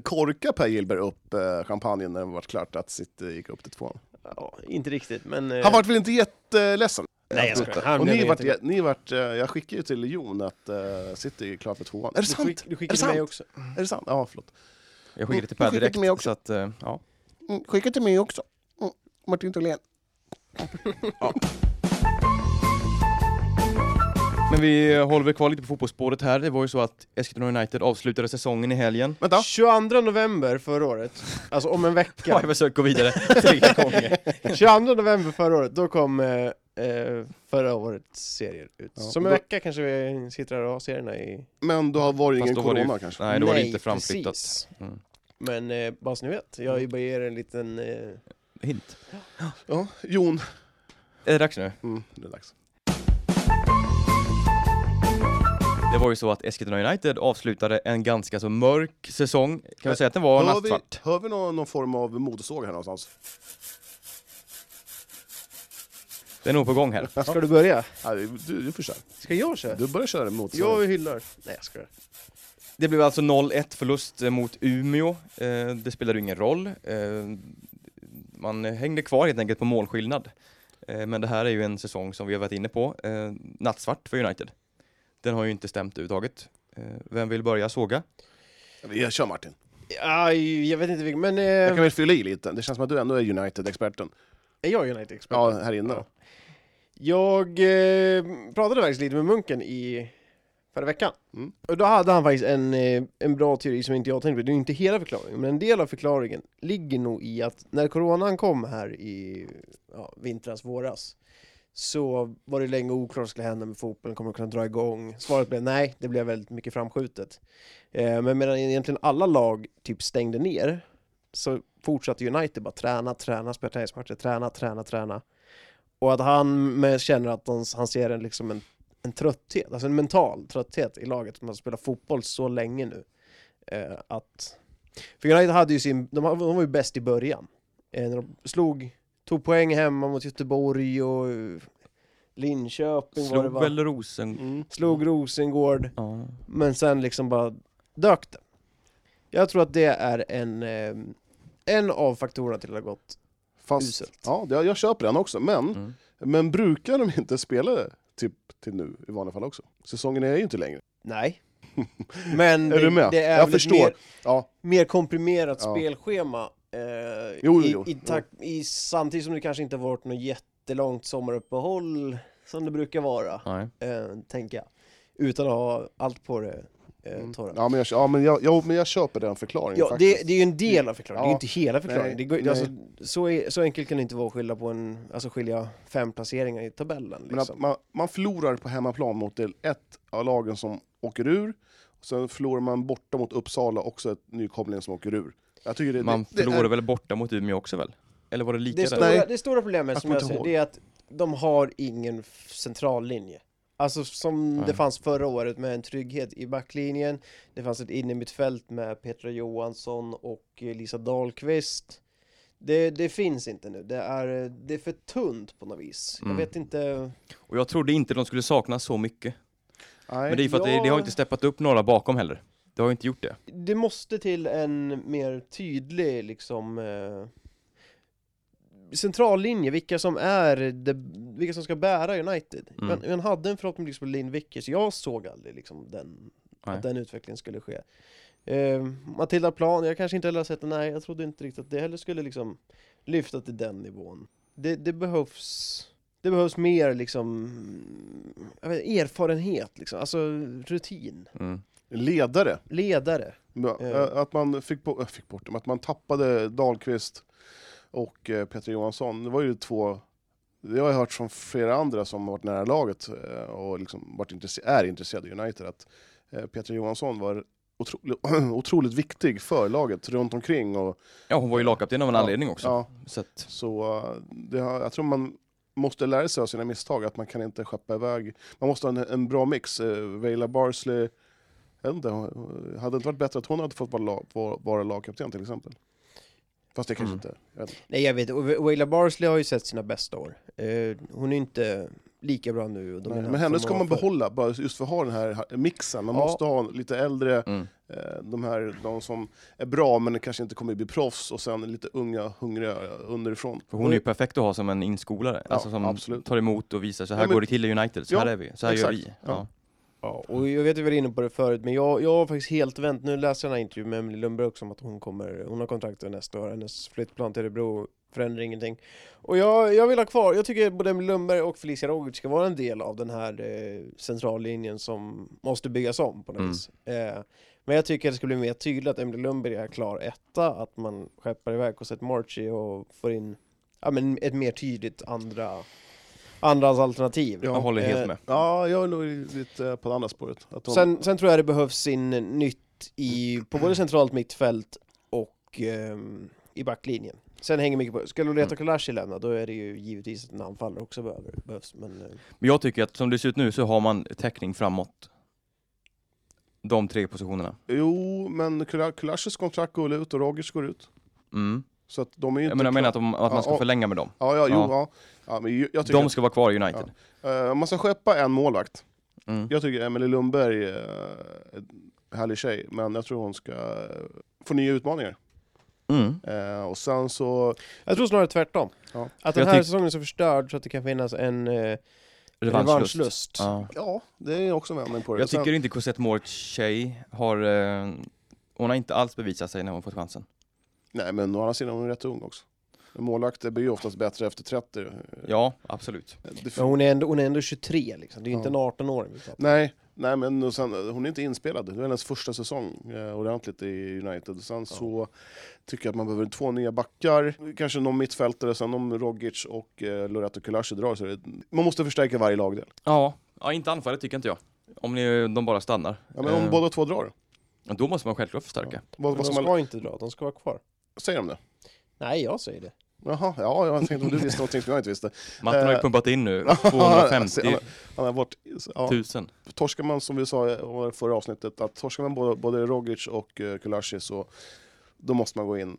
[SPEAKER 3] Korkar Per Gillberg upp eh, champagnen när det var klart att City gick upp till tvåan?
[SPEAKER 2] Ja, inte riktigt, men... eh,
[SPEAKER 3] Han var väl inte jätteledsen?
[SPEAKER 2] Nej, jag skojar. Han
[SPEAKER 3] Och
[SPEAKER 2] blev
[SPEAKER 3] ni vart,
[SPEAKER 2] jätteglad.
[SPEAKER 3] ni vart, eh, jag skickade ju till Jon att eh, City är klart för tvåan. Är det
[SPEAKER 2] Du, skick,
[SPEAKER 3] sant?
[SPEAKER 2] du
[SPEAKER 3] Är det
[SPEAKER 2] skickade
[SPEAKER 3] sant?
[SPEAKER 2] mig också.
[SPEAKER 3] Är det sant? Ja, förlåt.
[SPEAKER 1] Jag skickar det till
[SPEAKER 3] Jag
[SPEAKER 1] Per
[SPEAKER 3] skickar till mig
[SPEAKER 1] direkt.
[SPEAKER 3] också.
[SPEAKER 1] Så att, eh, ja.
[SPEAKER 3] Mm, Skicka till mig Mm, också. Martin Tholén.
[SPEAKER 1] Men vi håller väl kvar lite på fotbollsspåret här. Det var ju så att Eskilstuna United avslutade säsongen i helgen.
[SPEAKER 3] Vänta!
[SPEAKER 2] 22 november förra året, alltså om en
[SPEAKER 1] Ja.
[SPEAKER 2] vecka,
[SPEAKER 1] Jag försöker gå vidare tre gånger.
[SPEAKER 2] 22 november förra året, då kom eh, eh, förra årets serier ut.
[SPEAKER 3] Ja,
[SPEAKER 2] Som en
[SPEAKER 3] då-
[SPEAKER 2] vecka kanske vi sitter här och har serierna i...
[SPEAKER 3] Men då var det
[SPEAKER 1] Fast
[SPEAKER 3] ingen
[SPEAKER 1] då var det ju-
[SPEAKER 3] corona kanske?
[SPEAKER 1] Nej, då var det inte framflyttat.
[SPEAKER 2] precis.
[SPEAKER 1] Mm.
[SPEAKER 2] Men eh, bara så ni vet, jag bara ger en liten... Eh,
[SPEAKER 1] Hint.
[SPEAKER 3] Ja, Jon.
[SPEAKER 1] Är det dags nu?
[SPEAKER 3] Mm, det är dags.
[SPEAKER 1] Det var ju så att Eskilstuna United avslutade en ganska så mörk säsong. Kan vi säga att den var
[SPEAKER 3] Hör vi,
[SPEAKER 1] nattsvart?
[SPEAKER 3] hör vi någon, någon form av motorsåg här någonstans?
[SPEAKER 1] Den är nog på gång här.
[SPEAKER 2] ska du börja?
[SPEAKER 3] Nej, du, du får köra.
[SPEAKER 2] Ska jag köra?
[SPEAKER 3] Du börjar köra motorsåg.
[SPEAKER 2] Jag hyllar. Nej jag skojar.
[SPEAKER 1] Det blev alltså 0-1 förlust eh, mot Umeå. Eh, Det spelade ju ingen roll. Eh, Man hängde kvar helt enkelt på målskillnad. Eh, Men det här är ju en säsong som vi har varit inne på. Eh, Nattsvart för United. Den har ju inte stämt överhuvudtaget. Eh, Vem vill börja såga?
[SPEAKER 3] Jag kör Martin.
[SPEAKER 1] Eh.
[SPEAKER 2] Aj, jag vet inte vilken, men... Eh,
[SPEAKER 3] Jag kan väl fylla i lite. Det känns som att du ändå är United-experten.
[SPEAKER 2] Är jag United-expert?
[SPEAKER 3] Ja, här inne då.
[SPEAKER 2] Jag eh, pratade faktiskt lite med Munken i förra veckan.
[SPEAKER 3] Mm.
[SPEAKER 2] Och då hade han faktiskt en, eh, en bra teori som inte jag tänkte på. Det är ju inte hela förklaringen, men en del av förklaringen ligger nog i att när coronan kom här i ja, vintras, våras, så var det länge oklart vad som skulle hända med fotbollen, kommer den kunna dra igång? Svaret blev nej, det blev väldigt mycket framskjutet. Eh, men medan egentligen alla lag typ stängde ner, så fortsatte United bara träna, träna, spela träningsmatcher, träna, träna, träna. Och att han med, känner att han, han ser en, liksom en, en trötthet, alltså en mental trötthet i laget. Man spelar fotboll så länge nu. Eh, att, för United hade ju sin, de, var- de var ju bäst i början. Eh, när de slog, tog poäng hemma mot Göteborg och eh, Linköping var det
[SPEAKER 1] Slog
[SPEAKER 2] va?
[SPEAKER 1] väl Rosen...
[SPEAKER 3] Mm.
[SPEAKER 2] Slog Rosengård.
[SPEAKER 1] Ja.
[SPEAKER 2] Men sen liksom bara dök det. Jag tror att det är en, eh, en av faktorerna till att det har gått
[SPEAKER 3] Fast,
[SPEAKER 2] uselt.
[SPEAKER 3] ja, jag, jag köper den också. Men,
[SPEAKER 1] Mm.
[SPEAKER 3] men brukar de inte spela typ till nu i vanliga fall också? Säsongen är ju inte längre.
[SPEAKER 2] Nej. Men
[SPEAKER 3] Är
[SPEAKER 2] det,
[SPEAKER 3] du med?
[SPEAKER 2] det är
[SPEAKER 3] Jag
[SPEAKER 2] väl ett
[SPEAKER 3] förstår.
[SPEAKER 2] Mer,
[SPEAKER 3] Ja,
[SPEAKER 2] mer komprimerat
[SPEAKER 3] Ja.
[SPEAKER 2] spelschema. Eh,
[SPEAKER 3] jo,
[SPEAKER 2] i,
[SPEAKER 3] jo,
[SPEAKER 2] I, tak, i, samtidigt som det kanske inte har varit något jättelångt sommaruppehåll som det brukar vara,
[SPEAKER 1] Nej.
[SPEAKER 2] eh, tänker jag. Utan att ha allt på det
[SPEAKER 1] Mm,
[SPEAKER 2] eh, torra. Ja,
[SPEAKER 3] ja, men, jag, ja men, jag, ja, men jag köper den förklaringen faktiskt.
[SPEAKER 2] det, det är ju en del av förklaringen, det är ju
[SPEAKER 3] Ja.
[SPEAKER 2] inte hela förklaringen.
[SPEAKER 3] Nej,
[SPEAKER 2] Det går,
[SPEAKER 3] nej.
[SPEAKER 2] alltså, så, är, så enkelt kan det inte vara att skilja, på en, alltså skilja fem placeringar i tabellen.
[SPEAKER 3] Men att
[SPEAKER 2] Liksom.
[SPEAKER 3] man, man förlorar på hemmaplan mot del ett av lagen som åker ur. Och sen förlorar man borta mot Uppsala, också ett nykomling som åker ur. Jag tycker det,
[SPEAKER 1] Man
[SPEAKER 3] det, det
[SPEAKER 1] förlorade
[SPEAKER 3] är,
[SPEAKER 1] väl borta mot Umeå också väl? Eller var det lika
[SPEAKER 2] Det
[SPEAKER 1] där?
[SPEAKER 2] stora,
[SPEAKER 3] Nej.
[SPEAKER 2] det stora problemet
[SPEAKER 3] Jag
[SPEAKER 2] som
[SPEAKER 3] kommer
[SPEAKER 2] jag
[SPEAKER 3] inte
[SPEAKER 2] ser det är att de har ingen f- central linje. Alltså som
[SPEAKER 1] Nej.
[SPEAKER 2] det fanns förra året med en trygghet i backlinjen. Det fanns ett innermittfält med Petra Johansson och eh, Lisa Dahlqvist. Det, det finns inte nu. Det är, eh, det är för tunt på något vis.
[SPEAKER 1] Mm.
[SPEAKER 2] Jag vet inte.
[SPEAKER 1] Och jag trodde inte de skulle sakna så mycket.
[SPEAKER 3] nej,
[SPEAKER 1] Men det är för att det, det har inte steppat upp några bakom heller. Det har ju inte gjort det.
[SPEAKER 2] Det måste till en mer tydlig liksom eh, central linje, vilka som är det, vilka som ska bära United.
[SPEAKER 1] Mm.
[SPEAKER 2] Man, man hade en förhoppning liksom på Linn Vickers, jag såg aldrig liksom den,
[SPEAKER 1] Nej.
[SPEAKER 2] att den utvecklingen skulle ske. Eh, Matilda Plan, jag kanske inte heller har sett den, nej jag trodde inte riktigt att det heller skulle liksom lyfta till den nivån. Det, det behövs det behövs mer liksom, jag vet, erfarenhet, liksom. alltså rutin,
[SPEAKER 1] Mm.
[SPEAKER 3] Ledare.
[SPEAKER 2] ledare.
[SPEAKER 3] Ja,
[SPEAKER 2] Eh.
[SPEAKER 3] eh, Att man fick, på, äh, fick bort dem, att man tappade Dahlqvist och eh, Peter Johansson. Det var ju två, det har jag hört från flera andra som har varit nära laget eh, och liksom varit intresse, är intresserade av United, att eh, Peter Johansson var otroligt, otroligt viktig för laget runt omkring. Och,
[SPEAKER 1] Ja, hon var ju lagkapten av en
[SPEAKER 3] Ja,
[SPEAKER 1] anledning också.
[SPEAKER 3] ja,
[SPEAKER 1] Så att,
[SPEAKER 3] så eh, det, har- jag tror man måste lära sig av sina misstag, att man kan inte skeppa iväg, man måste ha en, en bra mix. Eh, Vejla Barsley, jag vet inte, hon- eh, hade det inte varit bättre att hon hade fått vara, lag, vara- vara lagkapten till exempel? Fast det kanske
[SPEAKER 1] Mm.
[SPEAKER 3] inte, jag vet inte.
[SPEAKER 2] Nej jag vet, och Wa- Wayla Barsley har ju sett sina bästa år. Eh, hon är inte lika bra nu. Och
[SPEAKER 3] Men,
[SPEAKER 2] dominant
[SPEAKER 3] men henne
[SPEAKER 2] som
[SPEAKER 3] ska
[SPEAKER 2] hon
[SPEAKER 3] man
[SPEAKER 2] var förr.
[SPEAKER 3] behålla, bara just för att ha den här ha- mixen. Man
[SPEAKER 2] Ja.
[SPEAKER 3] måste ha lite äldre,
[SPEAKER 1] mm.
[SPEAKER 3] eh, de här de som är bra men kanske inte kommer bli proffs, och sen lite unga, hungriga eh, underifrån.
[SPEAKER 1] För hon är ju perfekt att ha som en inskolare.
[SPEAKER 3] Mm. Ja,
[SPEAKER 1] alltså som
[SPEAKER 3] absolut.
[SPEAKER 1] tar emot och visar, så här
[SPEAKER 3] Ja, men-
[SPEAKER 1] går det till i United, så
[SPEAKER 3] Ja,
[SPEAKER 1] här är vi, så här gör
[SPEAKER 3] exakt.
[SPEAKER 1] vi. Ja.
[SPEAKER 3] Ja.
[SPEAKER 2] Ja, och jag vet att vi var inne på det förut, men jag, jag har faktiskt helt vänt. Nu läser jag den här intervjun med Emelie Lundberg också om att hon kommer, hon har kontrakt till nästa år, hennes flyttplan till Örebro förändrar ingenting. Och jag, jag vill ha kvar, jag tycker både Emelie Lundberg och Felicia Rogic ska vara en del av den här eh, centrallinjen som måste byggas om på något
[SPEAKER 1] Mm.
[SPEAKER 2] vis. Eh, men jag tycker att det ska bli mer tydligt att Emelie Lundberg är klar etta, att man skeppar iväg och sätter Marchi och får in ja, men ett mer tydligt andra andras alternativ. Eh,
[SPEAKER 1] Jag håller
[SPEAKER 3] Eh.
[SPEAKER 1] helt med.
[SPEAKER 3] Ja, jag är nog lite på det andra spåret. Att de,
[SPEAKER 2] Sen, sen tror jag det behövs in nytt i, på både centralt mittfält och ehm, i backlinjen. Sen hänger mycket på, skulle Leta
[SPEAKER 1] Mm.
[SPEAKER 2] Kolashi lämna då är det ju givetvis att en anfallare också behöver, behövs. Men, eh,
[SPEAKER 1] Men jag tycker att som det ser ut nu så har man täckning framåt. De tre positionerna.
[SPEAKER 3] Jo, men Kula- Kulashis kontrakt går ut och Rogic går ut.
[SPEAKER 1] Mm.
[SPEAKER 3] Så att de är
[SPEAKER 1] Jag
[SPEAKER 3] ju inte
[SPEAKER 1] menar, jag
[SPEAKER 3] klara.
[SPEAKER 1] menar att, de, att man ska
[SPEAKER 3] Ja, och-
[SPEAKER 1] förlänga med dem.
[SPEAKER 3] Ja, ja, jo,
[SPEAKER 1] Ja.
[SPEAKER 3] ja. ja. men ju- jag tycker
[SPEAKER 1] De ska vara kvar i United.
[SPEAKER 3] att, eh, man ska skeppa en målvakt.
[SPEAKER 1] Mm.
[SPEAKER 3] Jag tycker Emelie Lundberg eh, är en härlig tjej, men jag tror hon ska eh, få nya utmaningar.
[SPEAKER 1] Mm.
[SPEAKER 3] Eh, och sen så...
[SPEAKER 2] jag tror snarare tvärtom.
[SPEAKER 3] Ja.
[SPEAKER 2] Att
[SPEAKER 1] Jag
[SPEAKER 2] den här
[SPEAKER 1] tyck-
[SPEAKER 2] säsongen är så förstörd så att det kan finnas en eh,
[SPEAKER 1] Revanschlust.
[SPEAKER 2] revanschlust.
[SPEAKER 1] Ja.
[SPEAKER 3] Ja, det är också en vändning på det.
[SPEAKER 1] Jag
[SPEAKER 3] sen,
[SPEAKER 1] tycker inte Cosette Morts tjej har... Eh, hon har inte alls bevisat sig när hon fått chansen.
[SPEAKER 3] Nej, men å andra sidan är hon rätt ung också. Målvakter blir ju oftast bättre efter 30. Eh,
[SPEAKER 1] Ja, absolut.
[SPEAKER 3] det
[SPEAKER 2] Men hon är ändå, hon är ändå 23 liksom, det är ju inte
[SPEAKER 3] Ja.
[SPEAKER 2] en 18-åring. vi pratar om.
[SPEAKER 3] Nej, nej men och sen, hon är inte inspelad. Det är hennes första säsong eh, ordentligt i United. Sen så tycker jag att man behöver två nya backar, kanske någon mittfältare, sen om Rogic och eh, Loretto Kulashi drar. Så är det, man måste förstärka varje lagdel.
[SPEAKER 1] Ja, ja inte anfallet tycker inte jag. Om ni, de bara stannar.
[SPEAKER 3] Ja, men om
[SPEAKER 1] Eh,
[SPEAKER 3] båda två drar,
[SPEAKER 1] Då måste man självklart förstärka.
[SPEAKER 3] vad,
[SPEAKER 2] Men
[SPEAKER 3] vad
[SPEAKER 2] de
[SPEAKER 3] ska
[SPEAKER 2] ska
[SPEAKER 3] man,
[SPEAKER 2] inte dra, de ska vara kvar.
[SPEAKER 3] säger de det?
[SPEAKER 2] Nej, jag säger det.
[SPEAKER 3] Jaha, ja, jag tänkte om du visste någonting som jag inte visste.
[SPEAKER 1] Matten har ju
[SPEAKER 3] Eh,
[SPEAKER 1] pumpat in nu
[SPEAKER 3] Se,
[SPEAKER 1] 250
[SPEAKER 3] han, han har varit, ja,
[SPEAKER 1] 000.
[SPEAKER 3] torskar man som vi sa i förra avsnittet, att torskar man både, både Rogic och eh, Kulashi så då måste man gå in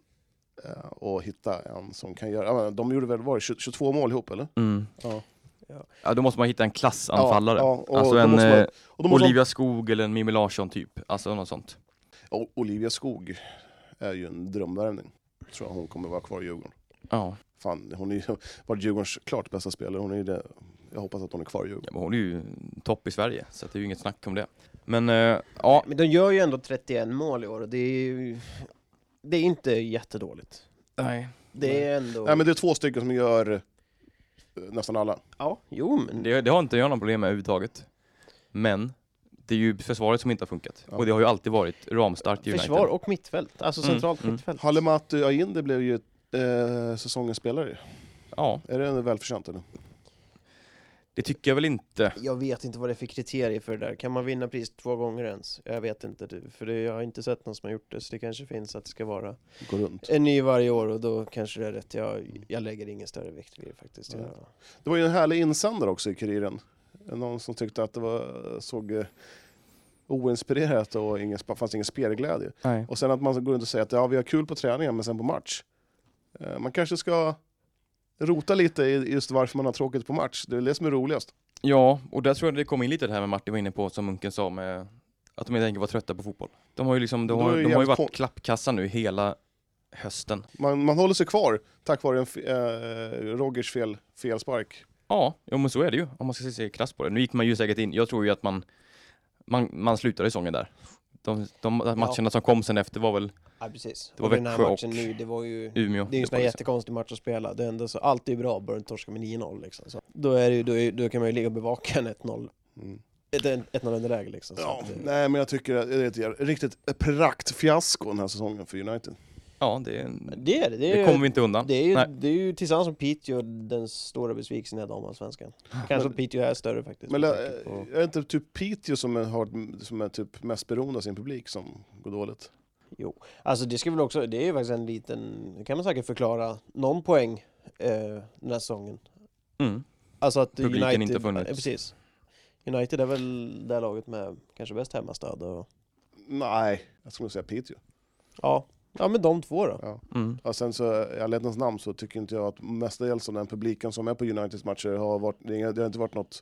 [SPEAKER 3] eh, och hitta en som kan göra, jag menar, de gjorde väl var det, 20 22 mål ihop eller?
[SPEAKER 1] Mm.
[SPEAKER 3] Ja.
[SPEAKER 1] Ja, då måste man hitta en klassanfallare.
[SPEAKER 3] Ja, ja, och
[SPEAKER 1] alltså
[SPEAKER 3] då
[SPEAKER 1] en
[SPEAKER 3] måste man-
[SPEAKER 1] eh,
[SPEAKER 3] Och de Olivia...
[SPEAKER 1] Olivia Skog eller en Mimmi Larsson typ. Alltså något sånt.
[SPEAKER 3] Måste, Olivia Skog är ju en drömvärvning. Jag tror hon kommer vara kvar i Djurgården.
[SPEAKER 1] Ja.
[SPEAKER 3] Fan, hon är ju varit Djurgårdens klart bästa spelare. Hon är ju det. Jag hoppas att hon är kvar i Djurgården.
[SPEAKER 1] men hon är ju topp i Sverige, så att det är ju inget snack om det. Men eh, ja,
[SPEAKER 2] Men de gör ju ändå 31 mål i år och det är ju, det är inte jättedåligt.
[SPEAKER 1] nej.
[SPEAKER 2] Det är ändå...
[SPEAKER 3] Nej men det är två stycken som gör eh, nästan alla.
[SPEAKER 2] Ja, jo men
[SPEAKER 1] Det, det har inte jag några problem med överhuvudtaget. Men det är ju försvaret som inte har funkat.
[SPEAKER 3] Ja.
[SPEAKER 1] Och det har ju alltid varit ramstarkt i United.
[SPEAKER 2] Försvar och mittfält, alltså
[SPEAKER 1] Mm,
[SPEAKER 2] centralt
[SPEAKER 1] mm.
[SPEAKER 2] mittfält.
[SPEAKER 3] Hallematu Ayinde blev ju eh, säsongens spelare.
[SPEAKER 1] Ja,
[SPEAKER 3] Är det en välförtjänt eller?
[SPEAKER 1] det tycker jag väl inte.
[SPEAKER 2] Jag vet inte vad det är för kriterier för det där. Kan man vinna priset två gånger ens? Jag vet inte, det- för det, jag har inte sett någon som har gjort det, så det kanske finns att det ska vara
[SPEAKER 3] Går runt.
[SPEAKER 2] en ny varje år och då kanske det är rätt. Jag, jag lägger ingen större vikt vid det faktiskt.
[SPEAKER 3] Nej.
[SPEAKER 2] Jag,
[SPEAKER 3] Det var ju en härlig insändare också i Kuriren. Någon som tyckte att det var, såg eh, oinspirerat och ingen, fanns ingen spelglädje.
[SPEAKER 1] Nej.
[SPEAKER 3] Och sen att man går runt och säger att ja, vi har kul på träningen men sen på match. Eh, Man kanske ska rota lite i just varför man har tråkigt på match. Det är det som är roligast.
[SPEAKER 1] Ja, och där tror jag det kom in lite det här med Martin var inne på, som Munken sa med att de helt enkelt var trötta på fotboll. De har ju liksom, de
[SPEAKER 3] Då är
[SPEAKER 1] har,
[SPEAKER 3] det
[SPEAKER 1] de har ju
[SPEAKER 3] jävligt
[SPEAKER 1] varit
[SPEAKER 3] kon-
[SPEAKER 1] klappkassa nu hela hösten.
[SPEAKER 3] Man, man håller sig kvar tack vare en f- eh, Rogers fel, fel spark.
[SPEAKER 1] Ja, jo, men så är det ju, om man ska se krasst på det. Nu gick man ju säkert in, jag tror ju att man, man, man slutade säsongen där. De, de matcherna som kom sen efter var väl
[SPEAKER 2] ja, precis.
[SPEAKER 1] Det var
[SPEAKER 2] Och den här
[SPEAKER 1] Växjö och
[SPEAKER 2] matchen nu, det var ju...
[SPEAKER 1] Umeå.
[SPEAKER 2] Det är ju en sån
[SPEAKER 1] var
[SPEAKER 2] här
[SPEAKER 1] liksom-
[SPEAKER 2] jättekonstig match att spela. Det är ändå så, allt är ju bra, bara du inte torskar med 9-0 liksom. Så då, är det ju, då, är, då kan man ju ligga och bevaka en 1-0,
[SPEAKER 3] Mm.
[SPEAKER 2] ett 1-0 underläge liksom. Så
[SPEAKER 3] Ja,
[SPEAKER 2] att, eh,
[SPEAKER 3] nej, men jag tycker att det är ett jä- riktigt praktfiasko den här säsongen för United.
[SPEAKER 1] Ja, det, är-
[SPEAKER 2] Det är det. Det är,
[SPEAKER 1] det kommer vi inte undan.
[SPEAKER 2] det är, ju,
[SPEAKER 1] Nej.
[SPEAKER 2] det är ju tillsammans med Piteå den stora besvikelsen i damallsvenskan. Kanske att Piteå är större faktiskt.
[SPEAKER 3] Men
[SPEAKER 2] med
[SPEAKER 3] eh,
[SPEAKER 2] tanke på-
[SPEAKER 3] är det inte typ Piteå som är, har, som är typ mest beroende av sin publik som går dåligt?
[SPEAKER 2] Alltså det ska väl också, det är ju faktiskt en liten, det kan man säkert förklara, någon poäng eh, den här säsongen.
[SPEAKER 1] Mm.
[SPEAKER 2] Alltså att
[SPEAKER 1] Publiken
[SPEAKER 2] United,
[SPEAKER 1] inte funnits.
[SPEAKER 2] eh, Precis. United är väl det här laget med kanske bäst hemmastöd och,
[SPEAKER 3] Nej, jag skulle säga Piteå.
[SPEAKER 2] ja. Ja men de två då.
[SPEAKER 3] Ja.
[SPEAKER 1] Mm.
[SPEAKER 3] Ja, sen så, i ärlighetens namn så tycker inte jag att mestadels av den publiken som är på Uniteds matcher har varit, det har det har inte varit något,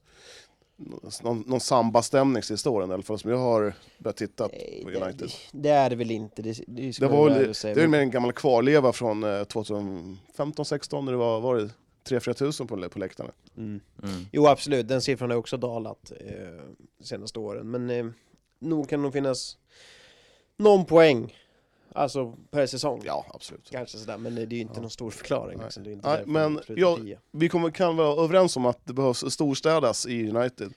[SPEAKER 3] någon, någon sambastämning sista åren i alla fall som jag har börjat titta
[SPEAKER 2] Nej,
[SPEAKER 3] på
[SPEAKER 2] det,
[SPEAKER 3] United.
[SPEAKER 2] det, det är det väl inte, det, det, ska
[SPEAKER 3] Det
[SPEAKER 2] det var
[SPEAKER 3] var väl-
[SPEAKER 2] säga.
[SPEAKER 3] eh, Det är mer en gammal kvarleva från 2015-16 när det var, var det 3-4 tusen på, lä- på läktarna.
[SPEAKER 2] Mm.
[SPEAKER 1] Mm.
[SPEAKER 2] Jo absolut, den siffran har också dalat eh, de senaste åren. Men eh, nog kan det nog finnas någon poäng, alltså per säsong.
[SPEAKER 3] Ja, absolut.
[SPEAKER 2] Kanske sådär, men eh, det är ju inte
[SPEAKER 3] Ja.
[SPEAKER 2] någon stor förklaring.
[SPEAKER 3] Nej.
[SPEAKER 2] Liksom. Det är inte
[SPEAKER 3] Nej,
[SPEAKER 2] därför
[SPEAKER 3] men
[SPEAKER 2] de slutar
[SPEAKER 3] jag-
[SPEAKER 2] tio.
[SPEAKER 3] Vi kommer, kan vara överens om att det behövs storstädas i United.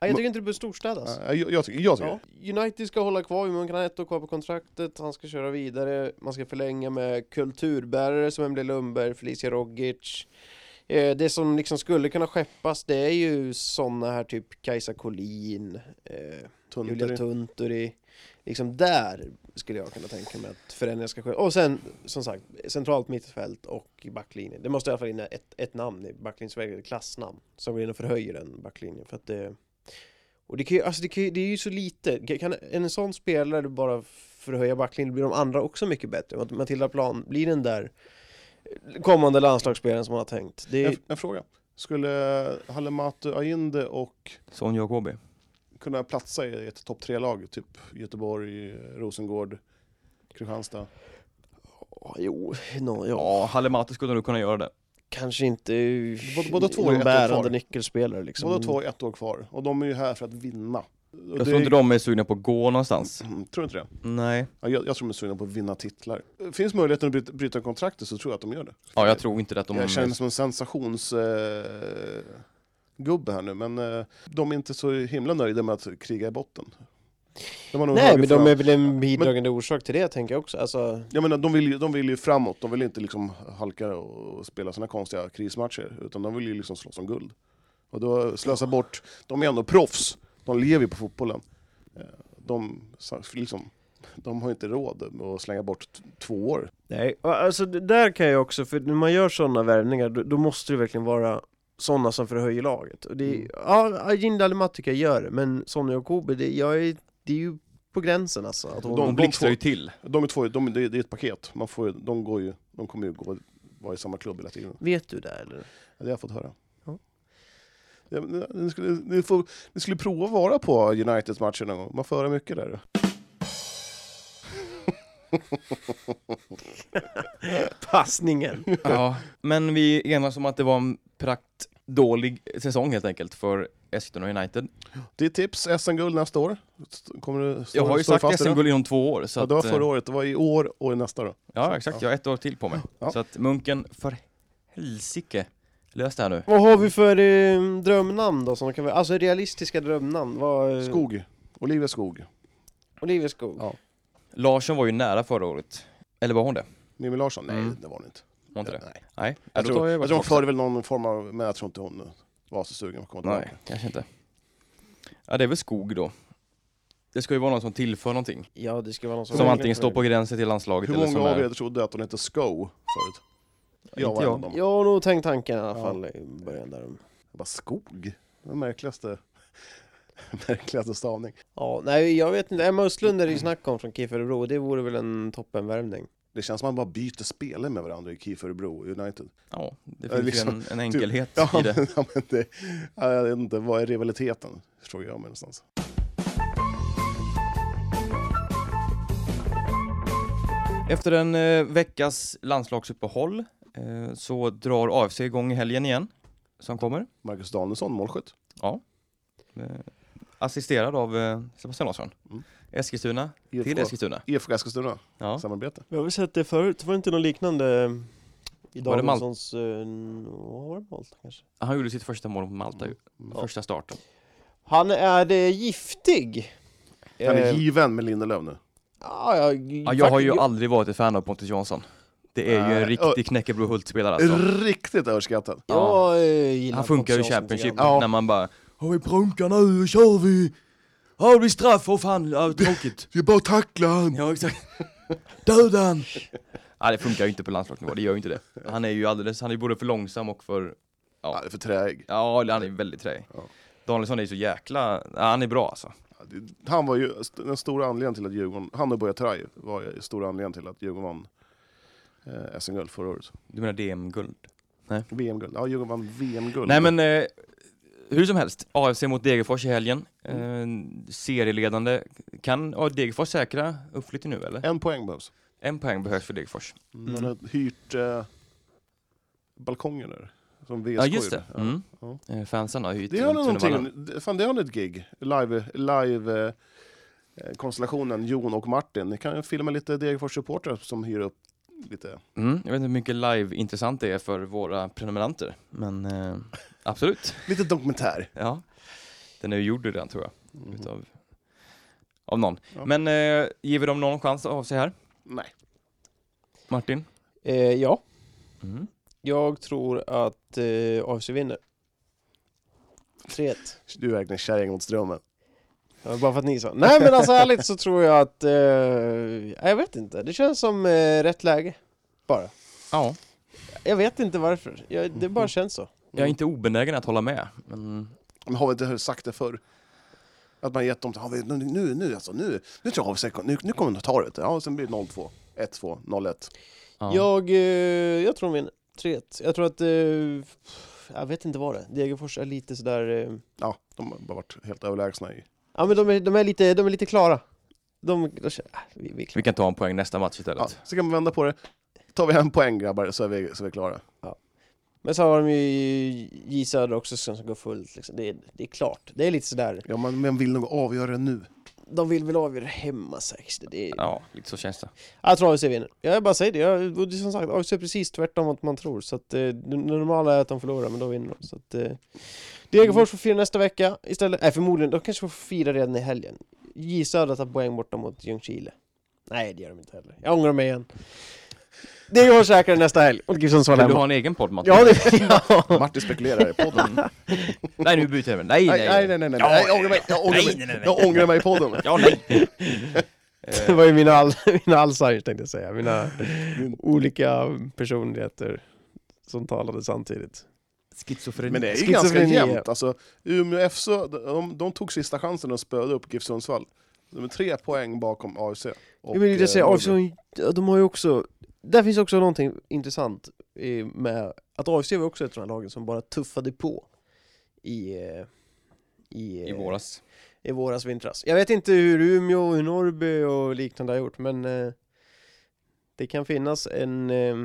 [SPEAKER 2] Nej, jag tycker inte det behöver storstädas.
[SPEAKER 3] Ja, jag, jag tycker, jag tycker
[SPEAKER 2] Ja. United ska hålla kvar, man kan ha ett år kvar på kontraktet, han ska köra vidare, man ska förlänga med kulturbärare som Emil Lundberg, Felicia Rogic. Eh, Det som liksom skulle kunna skeppas det är ju sådana här typ Kajsa Collin, eh,
[SPEAKER 3] Tunteri.
[SPEAKER 2] Julia Tunturi. Liksom där skulle jag kunna tänka mig att förändringar ska ske. Och sen som sagt, centralt mittfält och i backlinjen. Det måste i alla fall in ett, ett namn i backlinjen, ett klassnamn som går in och förhöjer den backlinjen. För att det, och det, kan ju, alltså det, kan ju, det är ju så lite. Kan en sån spelare bara förhöja backlinjen blir de andra också mycket bättre. Mat- Matilda Plan blir den där kommande landslagsspelaren som man har tänkt. Det är,
[SPEAKER 3] En, en fråga. Skulle Hallematu Ayinde och
[SPEAKER 1] Sonja och KB.
[SPEAKER 3] kunna platsa i ett topp tre-lag? Typ Göteborg, Rosengård, Kristianstad.
[SPEAKER 2] Ja, jo, nå, ja.
[SPEAKER 1] Ja, Hallematu skulle nog kunna göra det.
[SPEAKER 2] kanske inte
[SPEAKER 3] Bå- båda två är
[SPEAKER 2] någon
[SPEAKER 3] ett år
[SPEAKER 2] bärande
[SPEAKER 3] kvar.
[SPEAKER 2] nyckelspelare liksom.
[SPEAKER 3] Båda två har ett år kvar och de är ju här för att vinna. Och
[SPEAKER 1] Jag tror inte de är sugna på att gå någonstans.
[SPEAKER 3] Mm, Tror du inte det?
[SPEAKER 1] Nej.
[SPEAKER 3] Ja, jag, jag tror de är sugna på att vinna titlar. Finns möjligheten att bryta, bryta kontraktet så tror jag att de gör det.
[SPEAKER 1] Ja, jag tror inte att de...
[SPEAKER 3] Jag känner mig som en sensationsgubbe eh, gubbe här nu, men eh, de är inte så himla nöjda med att kriga i botten. De har nog
[SPEAKER 2] Nej
[SPEAKER 3] högre
[SPEAKER 2] men
[SPEAKER 3] fram-
[SPEAKER 2] de är väl en bidragande orsak till det tänker jag också. Alltså,
[SPEAKER 3] Jag menar, de vill, ju, de vill ju framåt, de vill inte liksom halka och spela sina konstiga krismatcher, utan de vill ju liksom slåss om guld. Och då slösa bort, de är ändå proffs, de lever ju på fotbollen. Eh, De, sa- liksom, de har ju inte råd med att slänga bort t- två år.
[SPEAKER 2] Nej, och alltså det där kan jag också, för när man gör sådana värvningar då, då måste det verkligen vara sådana som förhöjer laget. Och det,
[SPEAKER 3] Mm.
[SPEAKER 2] Ja, Ajinda Alimati tycker jag gör det, men Sonja och Kobe, det, jag är, det är ju på gränsen alltså. Att hon,
[SPEAKER 1] De,
[SPEAKER 3] de
[SPEAKER 1] blixtrar
[SPEAKER 3] två-
[SPEAKER 1] ju till.
[SPEAKER 3] De är två, de, det det är ett paket, Man får, ju- de, går ju, de kommer ju gå, vara i samma klubb hela tiden.
[SPEAKER 2] Vet du det eller?
[SPEAKER 3] Det har jag fått höra.
[SPEAKER 2] Ja.
[SPEAKER 3] Ja, men Ni skulle, ni, får, ni skulle prova att vara på Uniteds matcher någon gång, man får höra mycket där.
[SPEAKER 2] Passningen!
[SPEAKER 1] Ja. Men vi enas om att det var en prakt dålig säsong helt enkelt för Eskilstuna United.
[SPEAKER 3] Det är tips, SM-guld nästa år. St- Kommer du stå,
[SPEAKER 1] Jag har ju
[SPEAKER 3] står du
[SPEAKER 1] sagt
[SPEAKER 3] fast i det?
[SPEAKER 1] SM-guld inom två år. Så
[SPEAKER 3] Ja, det var
[SPEAKER 1] att, eh,
[SPEAKER 3] förra året, det var i år och i nästa då.
[SPEAKER 1] Ja, exakt. Jag har ett år till på mig.
[SPEAKER 3] Ja.
[SPEAKER 1] Så att Munken, för helsike, lös det här nu.
[SPEAKER 2] Vad har vi för eh, drömnamn då? Som kan vara, alltså realistiska drömnamn? Vad, eh,
[SPEAKER 3] Skog, Olivia Skog,
[SPEAKER 2] Olivia Skog?
[SPEAKER 3] Ja.
[SPEAKER 1] Larsson var ju nära förra året. Eller var hon det?
[SPEAKER 3] Mimmi Larsson, nej
[SPEAKER 1] Mm.
[SPEAKER 3] det var hon inte.
[SPEAKER 1] Var inte det?
[SPEAKER 3] Nej.
[SPEAKER 1] Nej. Ja,
[SPEAKER 3] Jag
[SPEAKER 1] då
[SPEAKER 3] tror,
[SPEAKER 1] tar
[SPEAKER 3] jag
[SPEAKER 1] bort
[SPEAKER 3] tror hon
[SPEAKER 1] Larsson.
[SPEAKER 3] förde väl någon form av, men jag tror inte hon var så sugen på att komma
[SPEAKER 1] Nej,
[SPEAKER 3] tillbaka.
[SPEAKER 1] kanske inte. Ja, det är väl skog då. Det ska ju vara någon som tillför någonting.
[SPEAKER 2] Ja, det ska vara någon som...
[SPEAKER 1] Som antingen står på gränsen till landslaget
[SPEAKER 3] Hur
[SPEAKER 1] eller som
[SPEAKER 3] många av
[SPEAKER 1] är...
[SPEAKER 3] er trodde att hon hette Sko förut? Jag
[SPEAKER 1] inte
[SPEAKER 3] var en
[SPEAKER 1] jag.
[SPEAKER 3] av dem.
[SPEAKER 2] Jag har nog tänkt tanken i alla
[SPEAKER 3] Ja.
[SPEAKER 2] fall i början där.
[SPEAKER 3] Jag bara, Skog? Den märkligaste, märkligaste stavning.
[SPEAKER 2] Ja, nej jag vet inte. Emma Östlund är det ju snack om från KIF Örebro. Det vore väl en toppenvärvning.
[SPEAKER 3] Det känns som att man bara byter spelare med varandra i KIF Örebro United.
[SPEAKER 1] Ja, det
[SPEAKER 3] Ja,
[SPEAKER 1] finns
[SPEAKER 3] liksom,
[SPEAKER 1] ju en, en enkelhet
[SPEAKER 3] Ja,
[SPEAKER 1] i det.
[SPEAKER 3] men, ja, men det, ja, jag vet inte, vad är rivaliteten? Frågar jag mig någonstans.
[SPEAKER 1] Efter en eh, veckas landslagsuppehåll eh, så drar AFC igång i helgen igen, som kommer.
[SPEAKER 3] Marcus Danielsson, målskytt.
[SPEAKER 1] Eh, assisterad av eh, Sebastian Larsson.
[SPEAKER 3] Mm.
[SPEAKER 1] Eskilstuna, till
[SPEAKER 3] IFK,
[SPEAKER 1] Eskilstuna.
[SPEAKER 3] IFK Eskilstuna,
[SPEAKER 1] Ja.
[SPEAKER 3] samarbete.
[SPEAKER 2] Jag har väl sett det förut. Var det inte något liknande i
[SPEAKER 1] Var det Mal-
[SPEAKER 2] Danielssons... eh, Vad var det Malta kanske?
[SPEAKER 1] Han gjorde sitt första mål mot Malta ju, första starten.
[SPEAKER 2] Han är eh, giftig!
[SPEAKER 3] Han är
[SPEAKER 2] Eh,
[SPEAKER 3] given med Lindelöf nu.
[SPEAKER 2] Ja, jag,
[SPEAKER 1] Ja, jag har ju aldrig varit ett fan av Pontus Jansson. Det är ju en
[SPEAKER 3] Nej,
[SPEAKER 1] riktig Knäckebro Hult-spelare alltså.
[SPEAKER 3] Riktigt överskattad.
[SPEAKER 2] Jag eh, gillar
[SPEAKER 1] Han funkar ju i
[SPEAKER 2] Pontus Jansson
[SPEAKER 1] Championship
[SPEAKER 2] lite grann.
[SPEAKER 3] Ja.
[SPEAKER 1] när man bara Har vi brunkar nu, då kör vi! Ja det blir straff, och fan, ja, tråkigt.
[SPEAKER 3] Jag bara tackla han!
[SPEAKER 1] Ja exakt. Döden! Nej det funkar ju inte på landslagsnivå, det gör ju inte det. Han är ju alldeles, han är ju både för långsam och för,
[SPEAKER 3] Ja, det är för träig.
[SPEAKER 1] ja han är väldigt träig.
[SPEAKER 3] Ja.
[SPEAKER 1] Danielsson är ju så jäkla, ja, han är bra alltså.
[SPEAKER 3] Ja, det- Han var ju st- den stora anledningen till att Djurgården, han och Buya Turay var ju stora anledningen till att Djurgården vann eh, SM-guld förra året.
[SPEAKER 1] Du menar DM-guld?
[SPEAKER 3] VM-guld, ja Djurgården vann VM-guld.
[SPEAKER 1] Nej men, eh, hur som helst, AFC mot Degerfors i helgen. Eh, serieledande. Kan ja, Degerfors säkra uppflyttning nu eller?
[SPEAKER 3] En poäng behövs.
[SPEAKER 1] Mm. En poäng behövs för Degerfors.
[SPEAKER 3] Man har hyrt eh, balkonger där. Som VSK
[SPEAKER 1] Ja, just det.
[SPEAKER 3] gjorde.
[SPEAKER 1] Mm.
[SPEAKER 3] Ja.
[SPEAKER 1] Eh, Fansen har ju hyrt
[SPEAKER 3] Det har ni
[SPEAKER 1] runt Sunnevallen.
[SPEAKER 3] någonting, det- fan det har ni ett gig, live, live eh, konstellationen Jon och Martin. Ni kan ju filma lite Degerfors supportrar som hyr upp lite.
[SPEAKER 1] Mm. Jag vet inte hur mycket live-intressant det är för våra prenumeranter, men eh, absolut.
[SPEAKER 3] Lite dokumentär.
[SPEAKER 1] Ja. Den är ju gjord redan tror jag,
[SPEAKER 3] Mhm.
[SPEAKER 1] utav av någon.
[SPEAKER 3] Ja.
[SPEAKER 1] Men eh, ger vi dem någon chans att av sig här?
[SPEAKER 3] Nej.
[SPEAKER 1] Martin?
[SPEAKER 2] Eh, ja,
[SPEAKER 1] Mm.
[SPEAKER 2] jag tror att eh, AFC vinner. 3-1.
[SPEAKER 3] Du är verkligen kärring mot strömmen.
[SPEAKER 2] Ja, bara för att ni sa. Nej men alltså ärligt så tror jag att, eh, jag vet inte, det känns som eh, rätt läge. Bara.
[SPEAKER 1] Ja,
[SPEAKER 2] Jag vet inte varför, jag, det bara känns så.
[SPEAKER 3] Mm.
[SPEAKER 1] jag är inte obenägen att hålla med. Men...
[SPEAKER 3] Men har vi inte sagt det förr? Att man gett dem, har vi, nu, nu, nu alltså, nu, nu tror jag AFC, kom- nu, nu kommer de ta det. Ja, sen blir det 0-2, 1-2, 0-1.
[SPEAKER 1] Ja.
[SPEAKER 2] Jag, eh, jag tror de vinner. 3-1. Jag tror att, eh, jag vet inte vad det är. Degerfors är lite sådär, eh,
[SPEAKER 3] Ja, de har bara varit helt överlägsna i...
[SPEAKER 2] ja men de är, de är, lite, de är lite klara. De, de känner, ah, vi, vi är klara.
[SPEAKER 1] Vi kan ta en poäng nästa match
[SPEAKER 3] Ja,
[SPEAKER 1] istället.
[SPEAKER 3] så kan man vända på det. Tar vi hem poäng grabbar så är vi, så är vi klara.
[SPEAKER 2] Men så har de ju J Söder också som som går fullt liksom. det, är, det är klart. Det är lite sådär,
[SPEAKER 3] Ja, men men vill nog avgöra det nu.
[SPEAKER 2] de vill väl avgöra hemma sägs det. det är,
[SPEAKER 1] Ja, lite så känns det.
[SPEAKER 2] Jag tror AFC vinner. Jag bara säger det, jag, och det är som sagt, AFC är precis tvärtom mot man tror. Så att eh, det normala är att de förlorar, men då vinner de. Så att, eh, Degerfors får fira nästa vecka istället. Nej, förmodligen, de kanske får fira redan i helgen. J Södra tar poäng borta mot Ljungskile. Nej, det gör de inte heller. Jag ångrar mig igen. Degerfors säkrar nästa helg mot
[SPEAKER 1] Vill
[SPEAKER 2] Gifsson
[SPEAKER 1] du
[SPEAKER 2] Svalhem.
[SPEAKER 1] ha en egen podd Martin?
[SPEAKER 2] Ja, det vill jag.
[SPEAKER 3] Martin spekulerar i podden.
[SPEAKER 1] Mm. nej, nu byter jag ämne. Nej, nej,
[SPEAKER 3] nej, nej, nej, nej. Jag ångrar mig, jag ångrar
[SPEAKER 1] Nej, nej,
[SPEAKER 3] mig,
[SPEAKER 1] nej, nej.
[SPEAKER 3] jag ångrar mig i podden.
[SPEAKER 1] Ja, nej.
[SPEAKER 2] Det
[SPEAKER 1] Eh,
[SPEAKER 2] var ju mina, all, mina Alzheimers tänkte jag säga. Mina olika personligheter som talade samtidigt.
[SPEAKER 1] Schizofreni.
[SPEAKER 3] Men det är ju
[SPEAKER 2] Schizofreni.
[SPEAKER 3] ganska jämnt. Alltså, Umeå FC, de, de tog sista chansen och spöade upp GIF Sundsvall. De är tre poäng bakom AFC. och,
[SPEAKER 2] Jag vill ju
[SPEAKER 3] eh,
[SPEAKER 2] säga,
[SPEAKER 3] Norrby.
[SPEAKER 2] AFC, har ju- ja, de har ju också, där finns också någonting intressant eh, med att AFC var också ett av de här lagen som bara tuffade på i, eh, i,
[SPEAKER 1] I
[SPEAKER 2] eh,
[SPEAKER 1] våras.
[SPEAKER 2] i våras, vintras. Jag vet inte hur Umeå, och hur Norrby och liknande har gjort, men eh, det kan finnas en, eh,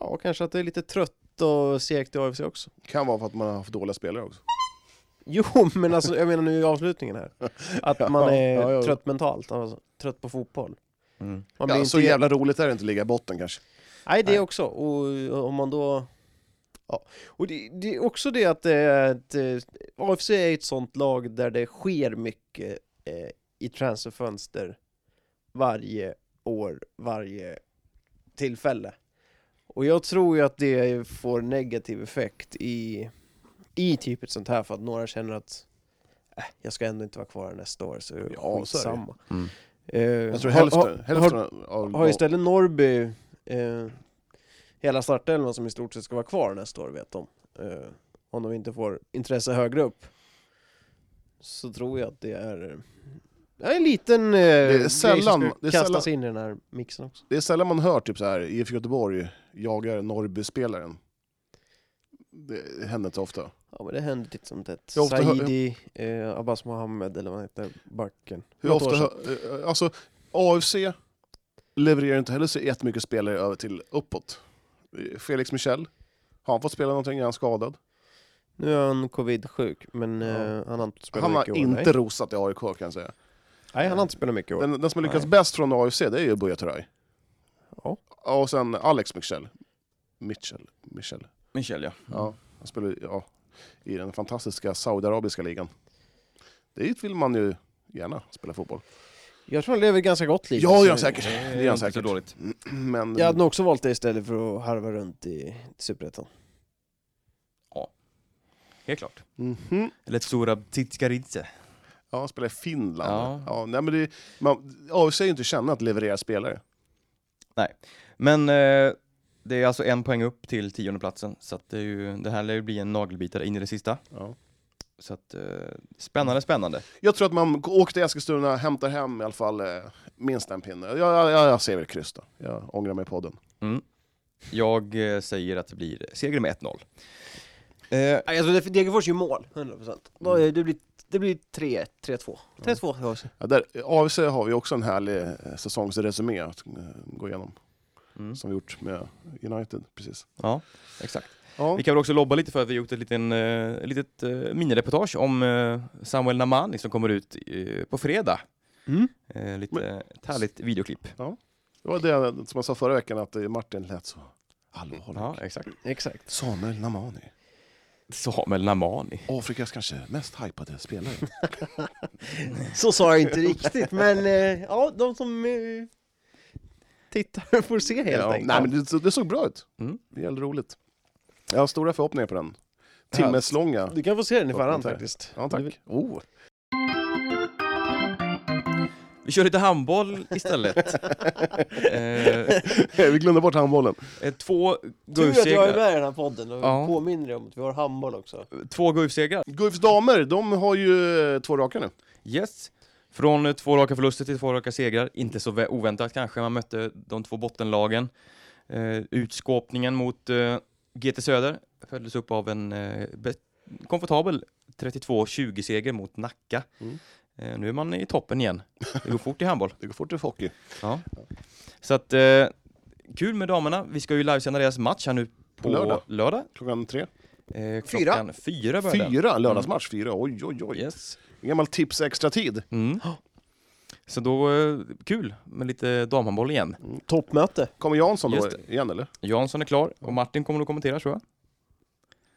[SPEAKER 2] ja kanske att det är lite trött och segt i AFC också.
[SPEAKER 3] Kan vara för att man har haft dåliga spelare också.
[SPEAKER 2] Jo, men alltså jag menar nu i avslutningen här, att man
[SPEAKER 3] Ja,
[SPEAKER 2] är
[SPEAKER 3] ja, ja.
[SPEAKER 2] trött mentalt, alltså, trött på fotboll.
[SPEAKER 1] Mm.
[SPEAKER 2] Man blir
[SPEAKER 3] Ja,
[SPEAKER 2] inte
[SPEAKER 3] så jävla roligt är det inte att ligga i botten kanske.
[SPEAKER 2] Nej, det
[SPEAKER 1] Nej.
[SPEAKER 2] också. Och och om man då... Ja. Och det, det är också det att, eh, att eh, AFC är ett sånt lag där det sker mycket eh, i transferfönster varje år, varje tillfälle. Och jag tror ju att det får negativ effekt i, i typ ett sånt här för att några känner att äh, jag ska ändå inte vara kvar nästa år så är det
[SPEAKER 3] Ja, så är det.
[SPEAKER 2] skitsamma.
[SPEAKER 1] Mm.
[SPEAKER 2] Eh,
[SPEAKER 3] Jag tror
[SPEAKER 2] har-
[SPEAKER 3] hälften,
[SPEAKER 2] har-
[SPEAKER 3] hälften av...
[SPEAKER 2] har istället Norrby eh, hela startelvan som i stort sett ska vara kvar nästa år vet de. Eh, om de inte får intresse högre upp. Så tror jag att det är, det är en liten eh,
[SPEAKER 3] är sällan-
[SPEAKER 2] grej som
[SPEAKER 3] det är
[SPEAKER 2] ska kastas
[SPEAKER 3] sällan-
[SPEAKER 2] in i den här mixen också.
[SPEAKER 3] Det är sällan man hör typ så här IFK Göteborg jagar Norrby-spelaren. Det händer inte ofta.
[SPEAKER 2] Ja men det händer titt som tätt.
[SPEAKER 3] Jag har ofta hört-
[SPEAKER 2] Saidi, eh, Abbas Mohammed eller vad han heter, backen.
[SPEAKER 3] Hur
[SPEAKER 2] Något år
[SPEAKER 3] ofta,
[SPEAKER 2] sedan.
[SPEAKER 3] hö- eh, alltså, AFC levererar inte heller så jättemycket spelare över till uppåt. Eh, Felix Michel, har han fått spela någonting? Är han skadad?
[SPEAKER 2] Nu är han covid-sjuk men
[SPEAKER 3] Ja.
[SPEAKER 2] eh, han har inte spelat
[SPEAKER 3] Han
[SPEAKER 2] mycket i
[SPEAKER 3] har
[SPEAKER 2] år.
[SPEAKER 3] inte
[SPEAKER 2] Nej.
[SPEAKER 3] rosat i AIK kan jag säga.
[SPEAKER 2] Nej han har inte spelat mycket i år.
[SPEAKER 3] Den, den som har lyckats
[SPEAKER 2] Nej.
[SPEAKER 3] bäst från AFC det är ju Buya Turay.
[SPEAKER 2] Ja.
[SPEAKER 3] Och sen Alex Michel. Mitchell. Michel.
[SPEAKER 1] Michel, ja.
[SPEAKER 3] Ja, han spelar ju, ja, i den fantastiska Saudiarabiska ligan. Dit vill man ju gärna spela fotboll.
[SPEAKER 2] Jag tror han lever ett ganska gott liv.
[SPEAKER 3] Ja, det gör han
[SPEAKER 2] Så-
[SPEAKER 3] säkert. Det
[SPEAKER 1] är
[SPEAKER 3] gör han
[SPEAKER 1] Eh, inte så
[SPEAKER 3] säkert.
[SPEAKER 1] dåligt.
[SPEAKER 3] Men
[SPEAKER 2] Jag hade nog också valt det istället för att harva runt i Superettan.
[SPEAKER 1] Helt klart.
[SPEAKER 3] Mhm.
[SPEAKER 1] Eller Sorab Titskaridze.
[SPEAKER 3] Ja, spela i Finland.
[SPEAKER 1] Ja.
[SPEAKER 3] Ja. nej, men det, man, AFC är ju inte känna att leverera spelare.
[SPEAKER 1] Men eh, det är alltså en poäng upp till tiondeplatsen, så att det, är ju, det här lär ju bli en nagelbitare in i det sista. Så att, eh, spännande, spännande.
[SPEAKER 3] Jag tror att man åker till Eskilstuna och hämtar hem i alla fall eh, minst en pinne. Jag, jag, jag, jag ser väl kryss då. Jag ångrar mig på den.
[SPEAKER 1] Jag eh, säger att det blir seger med 1-0. Eh,
[SPEAKER 2] Alltså det- Degerfors gör mål, 100%. Då är- Det blir, det blir 3-1, 3-2. 3-2 ja.
[SPEAKER 3] Ja, där, AFC har vi också en härlig eh, säsongsresumé att eh, gå igenom,
[SPEAKER 1] mm.
[SPEAKER 3] som vi gjort med United precis.
[SPEAKER 1] Ja, exakt.
[SPEAKER 3] Ja.
[SPEAKER 1] Vi kan väl också lobba lite för att vi har gjort ett liten, eh, litet eh, minireportage om eh, Samuel Namani som kommer ut eh, på fredag.
[SPEAKER 2] Mm.
[SPEAKER 1] Eh, lite
[SPEAKER 3] Men-
[SPEAKER 1] ett härligt videoklipp.
[SPEAKER 3] Det var det som jag sa förra veckan, att eh, Martin lät så allvarlig.
[SPEAKER 1] Ja, exakt.
[SPEAKER 2] Exakt.
[SPEAKER 3] Samuel Namani,
[SPEAKER 1] Samuel Namani.
[SPEAKER 3] Afrikas kanske mest hypade spelare.
[SPEAKER 2] Så sa jag inte riktigt, men eh, ja, de som eh, tittar får se helt
[SPEAKER 3] Ja,
[SPEAKER 2] enkelt.
[SPEAKER 3] nej, men det, det såg bra ut.
[SPEAKER 1] Mm.
[SPEAKER 3] Det är jävligt roligt. Jag har stora förhoppningar på den. Timmeslånga.
[SPEAKER 2] Du kan få se den i
[SPEAKER 3] Ja,
[SPEAKER 2] förhand
[SPEAKER 3] tack.
[SPEAKER 2] faktiskt.
[SPEAKER 3] Ja,
[SPEAKER 2] Du vill-
[SPEAKER 3] tack. Oh.
[SPEAKER 1] Vi kör lite handboll istället. eh,
[SPEAKER 3] Vi glömde bort handbollen.
[SPEAKER 1] eh, två
[SPEAKER 2] Tur att jag är
[SPEAKER 1] GUF-segrar.
[SPEAKER 2] med i den här podden och
[SPEAKER 1] Ja.
[SPEAKER 2] påminner dig om att vi har handboll också.
[SPEAKER 1] Två GUF-segrar.
[SPEAKER 3] Guifs damer, de har ju eh, två raka nu.
[SPEAKER 1] Yes. Från eh, två raka förluster till två raka segrar. Inte så vä- oväntat kanske. Man mötte de två bottenlagen. Eh, utskåpningen mot eh, GT Söder följdes upp av en eh, be- komfortabel 32-20 seger mot Nacka.
[SPEAKER 3] Mm.
[SPEAKER 1] Eh, nu är man i toppen igen. Det går fort i handboll.
[SPEAKER 3] Det går fort i hockey.
[SPEAKER 1] Ja. Så att, eh, kul med damerna. Vi ska ju livesända deras match här nu på,
[SPEAKER 3] På lördag.
[SPEAKER 1] lördag.
[SPEAKER 3] Klockan tre.
[SPEAKER 1] Eh,
[SPEAKER 2] Fyra.
[SPEAKER 1] klockan fyra börjar den.
[SPEAKER 3] Fyra, lördagsmatch fyra. Oj, oj, oj.
[SPEAKER 1] Yes.
[SPEAKER 3] En gammal tips extra tid.
[SPEAKER 1] Mm. Så då, eh, kul med lite damhandboll igen.
[SPEAKER 2] Toppmöte.
[SPEAKER 3] Kommer Jansson då
[SPEAKER 1] Just
[SPEAKER 3] igen eller?
[SPEAKER 1] Jansson är klar och Martin kommer att kommentera tror jag.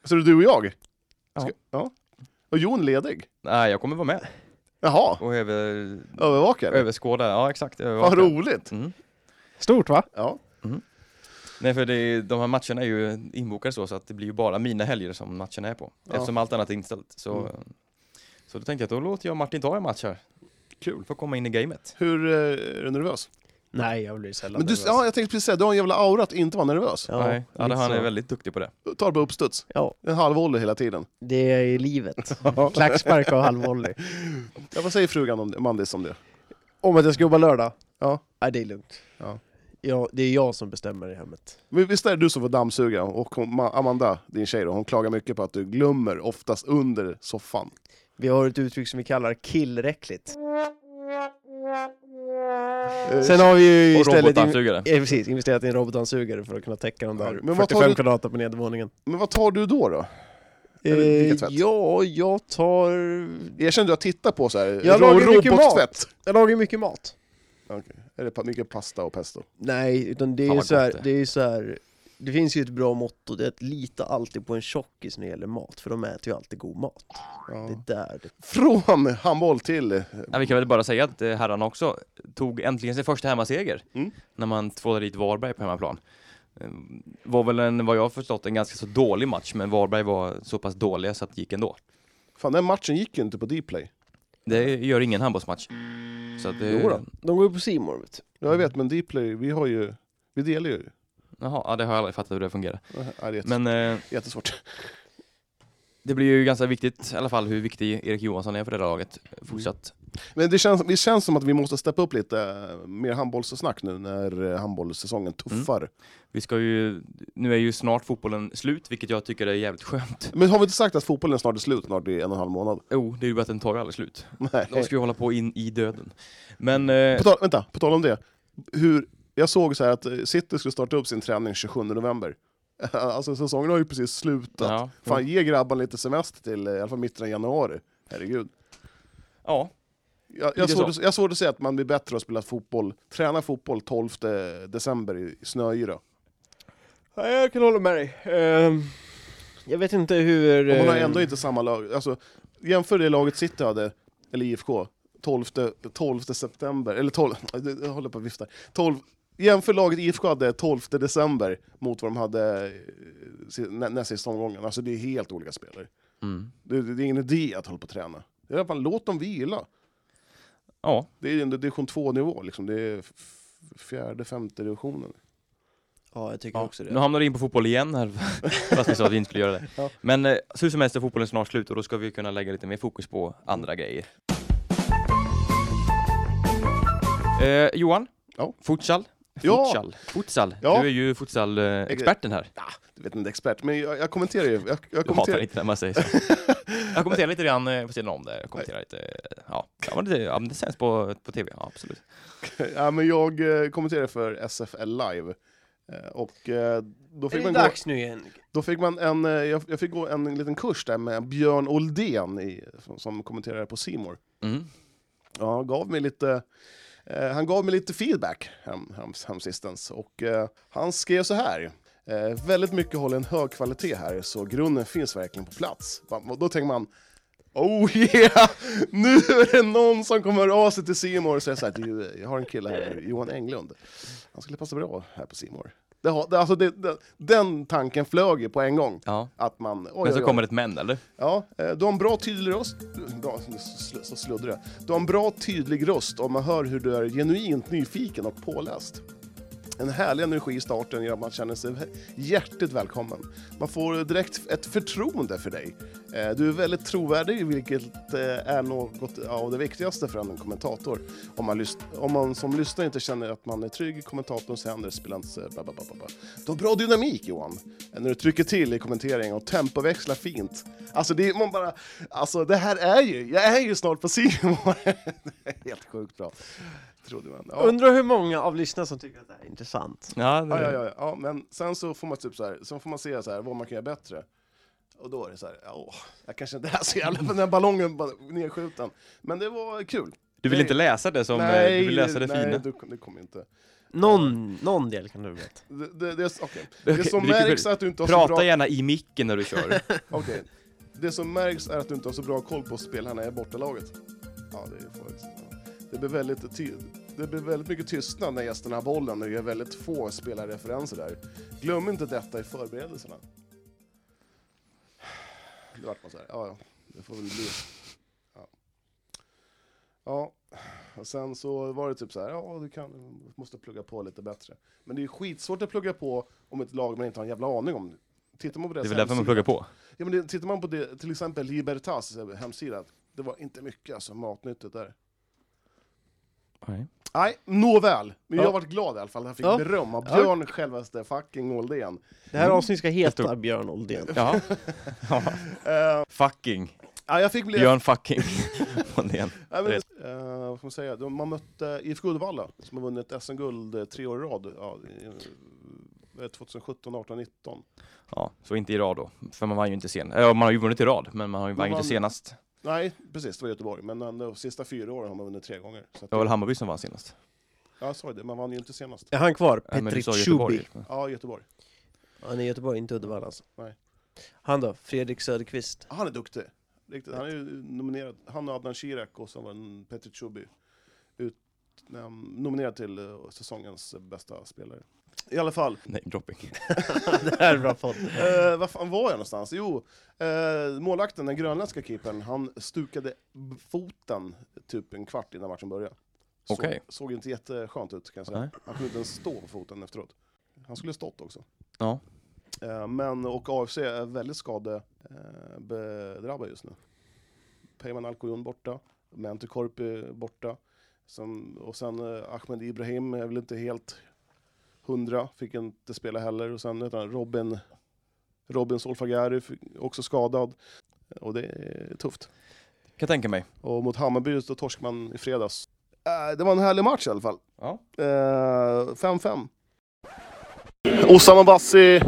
[SPEAKER 3] Så det är du och jag?
[SPEAKER 1] Ja.
[SPEAKER 3] Ska, ja. Och Jon ledig?
[SPEAKER 1] Nej, jag kommer vara med
[SPEAKER 3] Jaha,
[SPEAKER 1] och över,
[SPEAKER 3] övervakare?
[SPEAKER 1] överskåda. Ja, exakt.
[SPEAKER 3] Vad
[SPEAKER 1] övervaka.
[SPEAKER 3] roligt!
[SPEAKER 1] Mm.
[SPEAKER 2] Stort va?
[SPEAKER 3] Ja.
[SPEAKER 1] Nej, för det är, de här matcherna är ju inbokade så, så att det blir ju bara mina helger som matcherna är på.
[SPEAKER 3] Ja.
[SPEAKER 1] Eftersom allt annat är inställt. Så, så då tänkte jag att då låter jag Martin ta en match här.
[SPEAKER 3] Kul.
[SPEAKER 1] Får komma in i gamet.
[SPEAKER 3] Hur, eh, är du nervös?
[SPEAKER 2] Nej, jag blir sällan
[SPEAKER 3] Men du,
[SPEAKER 2] nervös.
[SPEAKER 3] ja, jag tänkte precis säga, du har en jävla aura att inte vara nervös.
[SPEAKER 2] Ja,
[SPEAKER 1] Nej, ja, det,
[SPEAKER 2] lite
[SPEAKER 1] han är
[SPEAKER 2] så.
[SPEAKER 1] väldigt duktig på det.
[SPEAKER 3] Du tar bara uppstuds.
[SPEAKER 2] Ja,
[SPEAKER 3] En halvvolley hela tiden.
[SPEAKER 2] det är livet. Klackspark och halvvolley.
[SPEAKER 3] Ja, vad säger frugan om det, Mandis om det?
[SPEAKER 2] Om att jag ska jobba lördag?
[SPEAKER 3] Ja.
[SPEAKER 2] Nej, det är lugnt.
[SPEAKER 3] Ja.
[SPEAKER 2] Ja, det är jag som bestämmer i hemmet.
[SPEAKER 3] Men visst är det du som får dammsuga? Och hon, Ma- Amanda, din tjej då, hon klagar mycket på att du glömmer oftast under soffan.
[SPEAKER 2] Vi har ett uttryck som vi kallar killräckligt.
[SPEAKER 3] Eh,
[SPEAKER 2] Sen har vi ju
[SPEAKER 1] Och
[SPEAKER 2] istället in, eh,
[SPEAKER 1] robotdammsugare.
[SPEAKER 2] precis, investerat i en robotdammsugare för att kunna täcka de där
[SPEAKER 3] Ja, men vad tar
[SPEAKER 2] 45
[SPEAKER 3] du-
[SPEAKER 2] kvadraten på nedervåningen.
[SPEAKER 3] Men vad tar du då? då?
[SPEAKER 2] Eh,
[SPEAKER 3] Eller vilken tvätt?
[SPEAKER 2] ja, jag tar...
[SPEAKER 3] Erkänn du har tittat på så här,
[SPEAKER 2] Jag lagar
[SPEAKER 3] ro-
[SPEAKER 2] mycket mat.
[SPEAKER 3] robottvätt.
[SPEAKER 2] Jag lagar ju mycket mat.
[SPEAKER 3] Är det pa- mycket pasta och pesto?
[SPEAKER 2] Nej, utan det är
[SPEAKER 1] Fan,
[SPEAKER 2] ju
[SPEAKER 1] vad
[SPEAKER 2] så här,
[SPEAKER 1] gott det
[SPEAKER 2] det är ju så här... Det finns ju ett bra motto, det är att lita alltid på en tjockis när det gäller mat, för de äter ju alltid god mat. Det är där det...
[SPEAKER 3] Från handboll till... eh,
[SPEAKER 1] Ja, vi kan väl bara säga att eh, herrarna också tog äntligen sin första hemmaseger
[SPEAKER 3] Mm.
[SPEAKER 1] när man tvålade dit Varberg på hemmaplan. Eh, Var väl en, vad jag har förstått, en ganska så dålig match, men Varberg var så pass dåliga så att det gick ändå.
[SPEAKER 3] Fan, den matchen gick ju inte på Dplay.
[SPEAKER 1] Det gör ingen handbollsmatch. Så att eh, det...
[SPEAKER 3] Jo då.
[SPEAKER 2] De går ju på C More, vet du.
[SPEAKER 3] Ja, jag
[SPEAKER 1] Mm.
[SPEAKER 3] vet, men Dplay, vi har ju... Vi delar ju.
[SPEAKER 1] Jaha, ja, det har jag aldrig fattat hur det fungerar.
[SPEAKER 3] Ja, det är jättes-
[SPEAKER 1] Men eh,
[SPEAKER 3] jättesvårt.
[SPEAKER 1] det blir ju ganska viktigt, i alla fall hur viktig Erik Johansson är för det här laget eh, fortsatt.
[SPEAKER 3] Men det känns, det känns som att vi måste steppa upp lite eh, mer handbollssnack nu när eh,
[SPEAKER 1] Mm.
[SPEAKER 3] handbollssäsongen tuffar.
[SPEAKER 1] Vi ska ju, nu är ju snart fotbollen slut, vilket jag tycker är jävligt skönt.
[SPEAKER 3] Men har vi inte sagt att fotbollen snart är slut, snart i en och en halv månad?
[SPEAKER 1] Jo, det är ju bara att den tar ju aldrig slut.
[SPEAKER 3] Nej.
[SPEAKER 1] De ska ju hålla på in i döden. Men eh,
[SPEAKER 3] På tal, vänta, på tal om det. Hur, jag såg så här att eh, City skulle starta upp sin träning 27 november. Alltså säsongen har ju precis slutat.
[SPEAKER 1] Ja.
[SPEAKER 3] Fan, ge grabbarna lite semester till eh, i alla fall mitten av januari. Herregud.
[SPEAKER 1] ja,
[SPEAKER 3] Jag,
[SPEAKER 1] Lite
[SPEAKER 3] jag, såg,
[SPEAKER 1] så.
[SPEAKER 3] jag såg det säga att man blir bättre att spela fotboll, träna fotboll 12 december i i snöyra.
[SPEAKER 2] Ja, jag kan hålla med dig. Ehm, jag vet inte hur...
[SPEAKER 3] Och man har
[SPEAKER 2] eh,
[SPEAKER 3] ändå inte samma lag. Alltså, jämför det laget City hade, eller IFK, 12, 12 september, eller 12, jag håller på att vifta. 12, jämför laget IFK hade 12 december mot vad de hade eh, si- nä- näst sista omgången. Alltså det är helt olika spelare.
[SPEAKER 1] mm.
[SPEAKER 3] Det, det är ingen idé att hålla på och träna. I alla fall, låt dem vila.
[SPEAKER 1] ja,
[SPEAKER 3] Det är ändå division 2-nivå, liksom. det är f- fjärde, femte divisionen.
[SPEAKER 2] Ja, jag tycker
[SPEAKER 1] ja.
[SPEAKER 2] också det.
[SPEAKER 1] nu hamnar du in på fotboll igen här, fast vi sa att vi inte skulle göra det.
[SPEAKER 3] Ja.
[SPEAKER 1] Men eh, så hur som helst är fotbollen snart slut och då ska vi kunna lägga lite mer fokus på andra grejer. Eh, Johan,
[SPEAKER 3] Ja.
[SPEAKER 1] futsal.
[SPEAKER 3] Ja.
[SPEAKER 1] Futsal. futsal.
[SPEAKER 3] Ja.
[SPEAKER 1] Du är ju futsal-experten här.
[SPEAKER 3] Jag vet inte, expert, men jag, jag kommenterar ju. Jag, jag
[SPEAKER 1] Jag hatar
[SPEAKER 3] kommenterar.
[SPEAKER 1] inte när man säger så. Jag kommenterar lite grann eh, på sidan om det. Jag kommenterar lite, eh, ja, ja, men det, ja men det sänds på, på tv, ja, absolut.
[SPEAKER 3] Ja, men jag eh, kommenterar för SFL Live. Eh, Och eh, då
[SPEAKER 2] Är
[SPEAKER 3] fick,
[SPEAKER 2] det
[SPEAKER 3] man gå,
[SPEAKER 2] dags nu igen?
[SPEAKER 3] då fick man en, eh, jag, jag fick gå en liten kurs där med Björn Oldén i, som, som kommenterade på Simor.
[SPEAKER 1] Mm.
[SPEAKER 3] Ja, han gav mig lite, eh, han gav mig lite feedback hem, hem, hemsistens och eh, han skrev så här. Eh, väldigt mycket håller en hög kvalitet här så grunden finns verkligen på plats. Va- och Då tänker man Oh yeah! Nu är det någon som kommer höra av sig till Simor och säger så här, "Du, jag har en kille här, Johan Englund. Han skulle passa bra här på Simor. Det, har- det, alltså det, det, den tanken flög ju på en gång.
[SPEAKER 1] Ja.
[SPEAKER 3] Att man, oj,
[SPEAKER 1] Men
[SPEAKER 3] oj,
[SPEAKER 1] så
[SPEAKER 3] oj.
[SPEAKER 1] kommer ett men, eller?
[SPEAKER 3] Ja, eh, du har en bra tydlig röst. Bra, sl- så sluddrar jag. Du har en bra tydlig röst och man hör hur du är genuint nyfiken och påläst. En härlig energi i starten gör att man känner sig hjärtligt välkommen. Man får direkt ett förtroende för dig. Eh, Du är väldigt trovärdig, vilket eh, är något av det viktigaste för en kommentator. Om man, lys- om man som lyssnare inte känner att man är trygg i kommentatorns händer spelar inte så... bla, bla, bla, bla, bla. Du har bra dynamik, Johan. Eh, När du trycker till i kommenteringen och tempoväxlar fint. Alltså, det, är, man bara, alltså, det här är ju... Jag är ju snart på Simon. det är helt sjukt bra. Trodde man. Ja.
[SPEAKER 2] Undrar hur många av lyssnarna som tycker att det här är intressant?
[SPEAKER 1] Ja, det...
[SPEAKER 3] Ja, ja, ja, ja. ja, men sen så får man typ så här, så får man se så här, vad man kan göra bättre. Och då är det så här, åh, jag kanske inte är så jävla, men den här ballongen bara nedskjuten. Men det var kul.
[SPEAKER 1] Du vill
[SPEAKER 3] Nej.
[SPEAKER 1] inte läsa det som... eh, du vill läsa det
[SPEAKER 3] nej,
[SPEAKER 1] fina.
[SPEAKER 3] Du, det kommer inte.
[SPEAKER 2] Någon, någon del kan du berätta.
[SPEAKER 3] Det, det, det, är- okej.
[SPEAKER 1] Okej,
[SPEAKER 3] det som
[SPEAKER 1] vilket-
[SPEAKER 3] märks är att du inte har så
[SPEAKER 1] Prata
[SPEAKER 3] bra...
[SPEAKER 1] gärna i micken när du kör.
[SPEAKER 3] Okej. Det som märks är att du inte har så bra koll på spelarna i bortalaget. Ja, det är faktiskt... Ja. Det blir väldigt ty- det blir väldigt mycket tystnad när gästerna har bollen och gör väldigt få spelarreferenser där. Glöm inte detta i förberedelserna. Det vart man så här, ja, ja, det får väl bli. Ja. ja, och sen så var det typ så här, ja, du kan, du måste plugga på lite bättre. Men det är ju skitsvårt att plugga på om ett lag man inte har en jävla aning om. Tittar man på
[SPEAKER 1] Det
[SPEAKER 3] deras
[SPEAKER 1] är väl därför man
[SPEAKER 3] hemsida-
[SPEAKER 1] pluggar på.
[SPEAKER 3] Ja, men det, tittar man på det, till exempel Libertas hemsida, det var inte mycket alltså, matnyttigt där.
[SPEAKER 1] Nej.
[SPEAKER 3] Nej, nåväl. Men
[SPEAKER 2] Ja.
[SPEAKER 3] jag varit glad i alla fall. Jag fick
[SPEAKER 2] Ja.
[SPEAKER 3] beröm av
[SPEAKER 2] Ja.
[SPEAKER 3] Björn självaste fucking Oldén.
[SPEAKER 2] Det här
[SPEAKER 1] Mm.
[SPEAKER 2] avsnittet ska heta
[SPEAKER 1] tror-
[SPEAKER 2] Björn Oldén.
[SPEAKER 1] Ja. ja.
[SPEAKER 3] Eh,
[SPEAKER 1] Fucking.
[SPEAKER 3] ja, jag fick bli...
[SPEAKER 1] Björn fucking. Åldén.
[SPEAKER 3] Ja, men, eh, vad ska man säga? De, man mötte IFK Uddevalla som har vunnit SM-guld eh, tre år i rad. Ja, eh, 2017, 18, 19.
[SPEAKER 1] Ja, så inte i rad då. För man vann ju inte sen. Ja, man har ju vunnit i rad, men man har ju vann
[SPEAKER 3] Man
[SPEAKER 1] ju inte
[SPEAKER 3] vann-
[SPEAKER 1] senast.
[SPEAKER 3] Nej, precis, det var Göteborg. Men eh, de sista fyra åren har man vunnit tre gånger. Så att,
[SPEAKER 1] Det var väl Hammarby som vann senast?
[SPEAKER 3] ja, jag sa ju det, man vann ju inte senast.
[SPEAKER 2] Är han kvar?
[SPEAKER 1] Nej, men
[SPEAKER 2] Petri
[SPEAKER 1] du sa
[SPEAKER 2] Tjubi.
[SPEAKER 1] Göteborg.
[SPEAKER 3] Ja, Göteborg.
[SPEAKER 2] Han är i Göteborg, inte Uddevalla alltså.
[SPEAKER 3] Nej.
[SPEAKER 2] Han då? Fredrik Söderqvist.
[SPEAKER 3] Han är duktig. Riktigt. Han är ju nominerad. Han och Adnan Shirak och sen var det Petr Chubby. Ut, eh, nominerad till eh, säsongens bästa spelare. I alla fall.
[SPEAKER 1] Nej, dropping.
[SPEAKER 2] det här är bra podd.
[SPEAKER 3] Eh, vad fan var jag någonstans? Jo, eh, målvakten, den grönländska keepern, han stukade b- foten typ en kvart innan matchen började. Så,
[SPEAKER 1] Okej.
[SPEAKER 3] Såg inte jätteskönt ut kan jag säga.
[SPEAKER 1] Nej.
[SPEAKER 3] Han kunde inte ens stå på foten efteråt. Han skulle ha stått också.
[SPEAKER 1] Ja.
[SPEAKER 3] Eh, men, och AFC är väldigt skadebedrabbade just nu. Peyman Alkoyun borta, Menti Korpi borta. Sen, och sen eh, Ahmed Ibrahim är väl inte helt hundra, fick inte spela heller. Och sen vet han, Robin, Robin Solfagari, fick- också skadad. Och det är tufft.
[SPEAKER 1] Kan tänka mig.
[SPEAKER 3] Och mot Hammarby så torskade man i fredags. Eh, Det var en härlig match i alla fall.
[SPEAKER 1] Ja.
[SPEAKER 3] Eh, 5-5. Osama Bassi,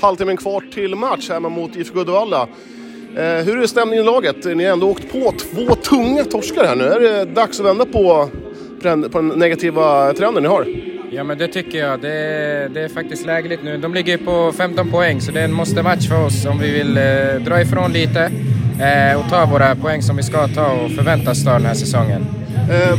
[SPEAKER 3] halvtimmen kvar till match hemma mot IFK Uddevalla. Eh, hur är stämningen i laget? Ni har ändå åkt på två tunga torskar här nu. Är det dags att vända på, trend- på den negativa trenden ni har?
[SPEAKER 4] Ja, men det tycker jag. Det är, det är faktiskt lägligt nu. De ligger på 15 poäng, så det är en måste-match för oss om vi vill eh, dra ifrån lite eh, och ta våra poäng som vi ska ta och förväntas ta den här säsongen.
[SPEAKER 3] Eh,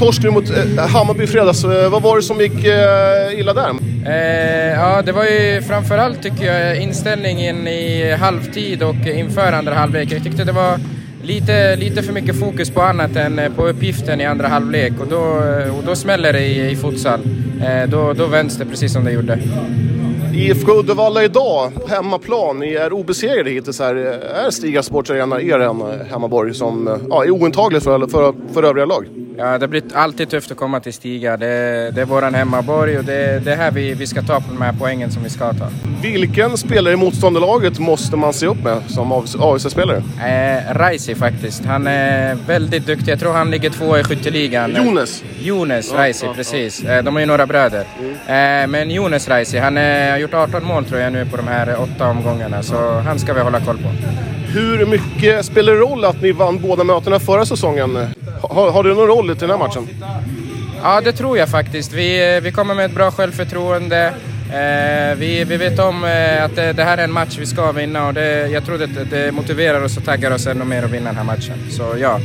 [SPEAKER 3] torsk nu mot eh, Hammarby i fredags. Eh, vad var det som gick eh, illa där?
[SPEAKER 4] Eh, ja, det var ju framförallt tycker jag inställningen i halvtid och inför andra halvlek. Jag tyckte det var lite, lite för mycket fokus på annat än eh, på uppgiften i andra halvlek och då, och då smäller det i, i futsal. Eh, då, då vänds det precis som det gjorde.
[SPEAKER 3] IFK Uddevalla idag, hemmaplan. Ni är obesegrade hittills här. Är Stiga Sports Arena er en eh, hemmaborg som eh, ja, är ointaglig för, för, för övriga lag?
[SPEAKER 4] Ja, det blir alltid tufft att komma till Stiga. Det, det är våran hemmaborg och det, det är här vi, vi ska ta på de här poängen som vi ska ta.
[SPEAKER 3] Vilken spelare i motståndarlaget måste man se upp med som AIC-spelare?
[SPEAKER 4] Eh, Raisi faktiskt. Han är väldigt duktig. Jag tror han ligger tvåa i skytteligan.
[SPEAKER 3] Jonas!
[SPEAKER 4] Jones Raisi, precis. Eh, De är ju några bröder. Eh, Men Jones Raisi, han eh, har gjort 18 mål tror jag nu på de här eh, åtta omgångarna. Så han ska vi hålla koll på.
[SPEAKER 3] Hur mycket spelar det roll att ni vann båda mötena förra säsongen? Har, har det någon roll i den här matchen?
[SPEAKER 4] Ja, det tror jag faktiskt. Vi, eh, vi kommer med ett bra självförtroende. Eh, vi, vi vet om eh, att det, det här är en match vi ska vinna och det, jag tror att det, det motiverar oss och taggar oss ännu mer att vinna den här matchen. Så ja.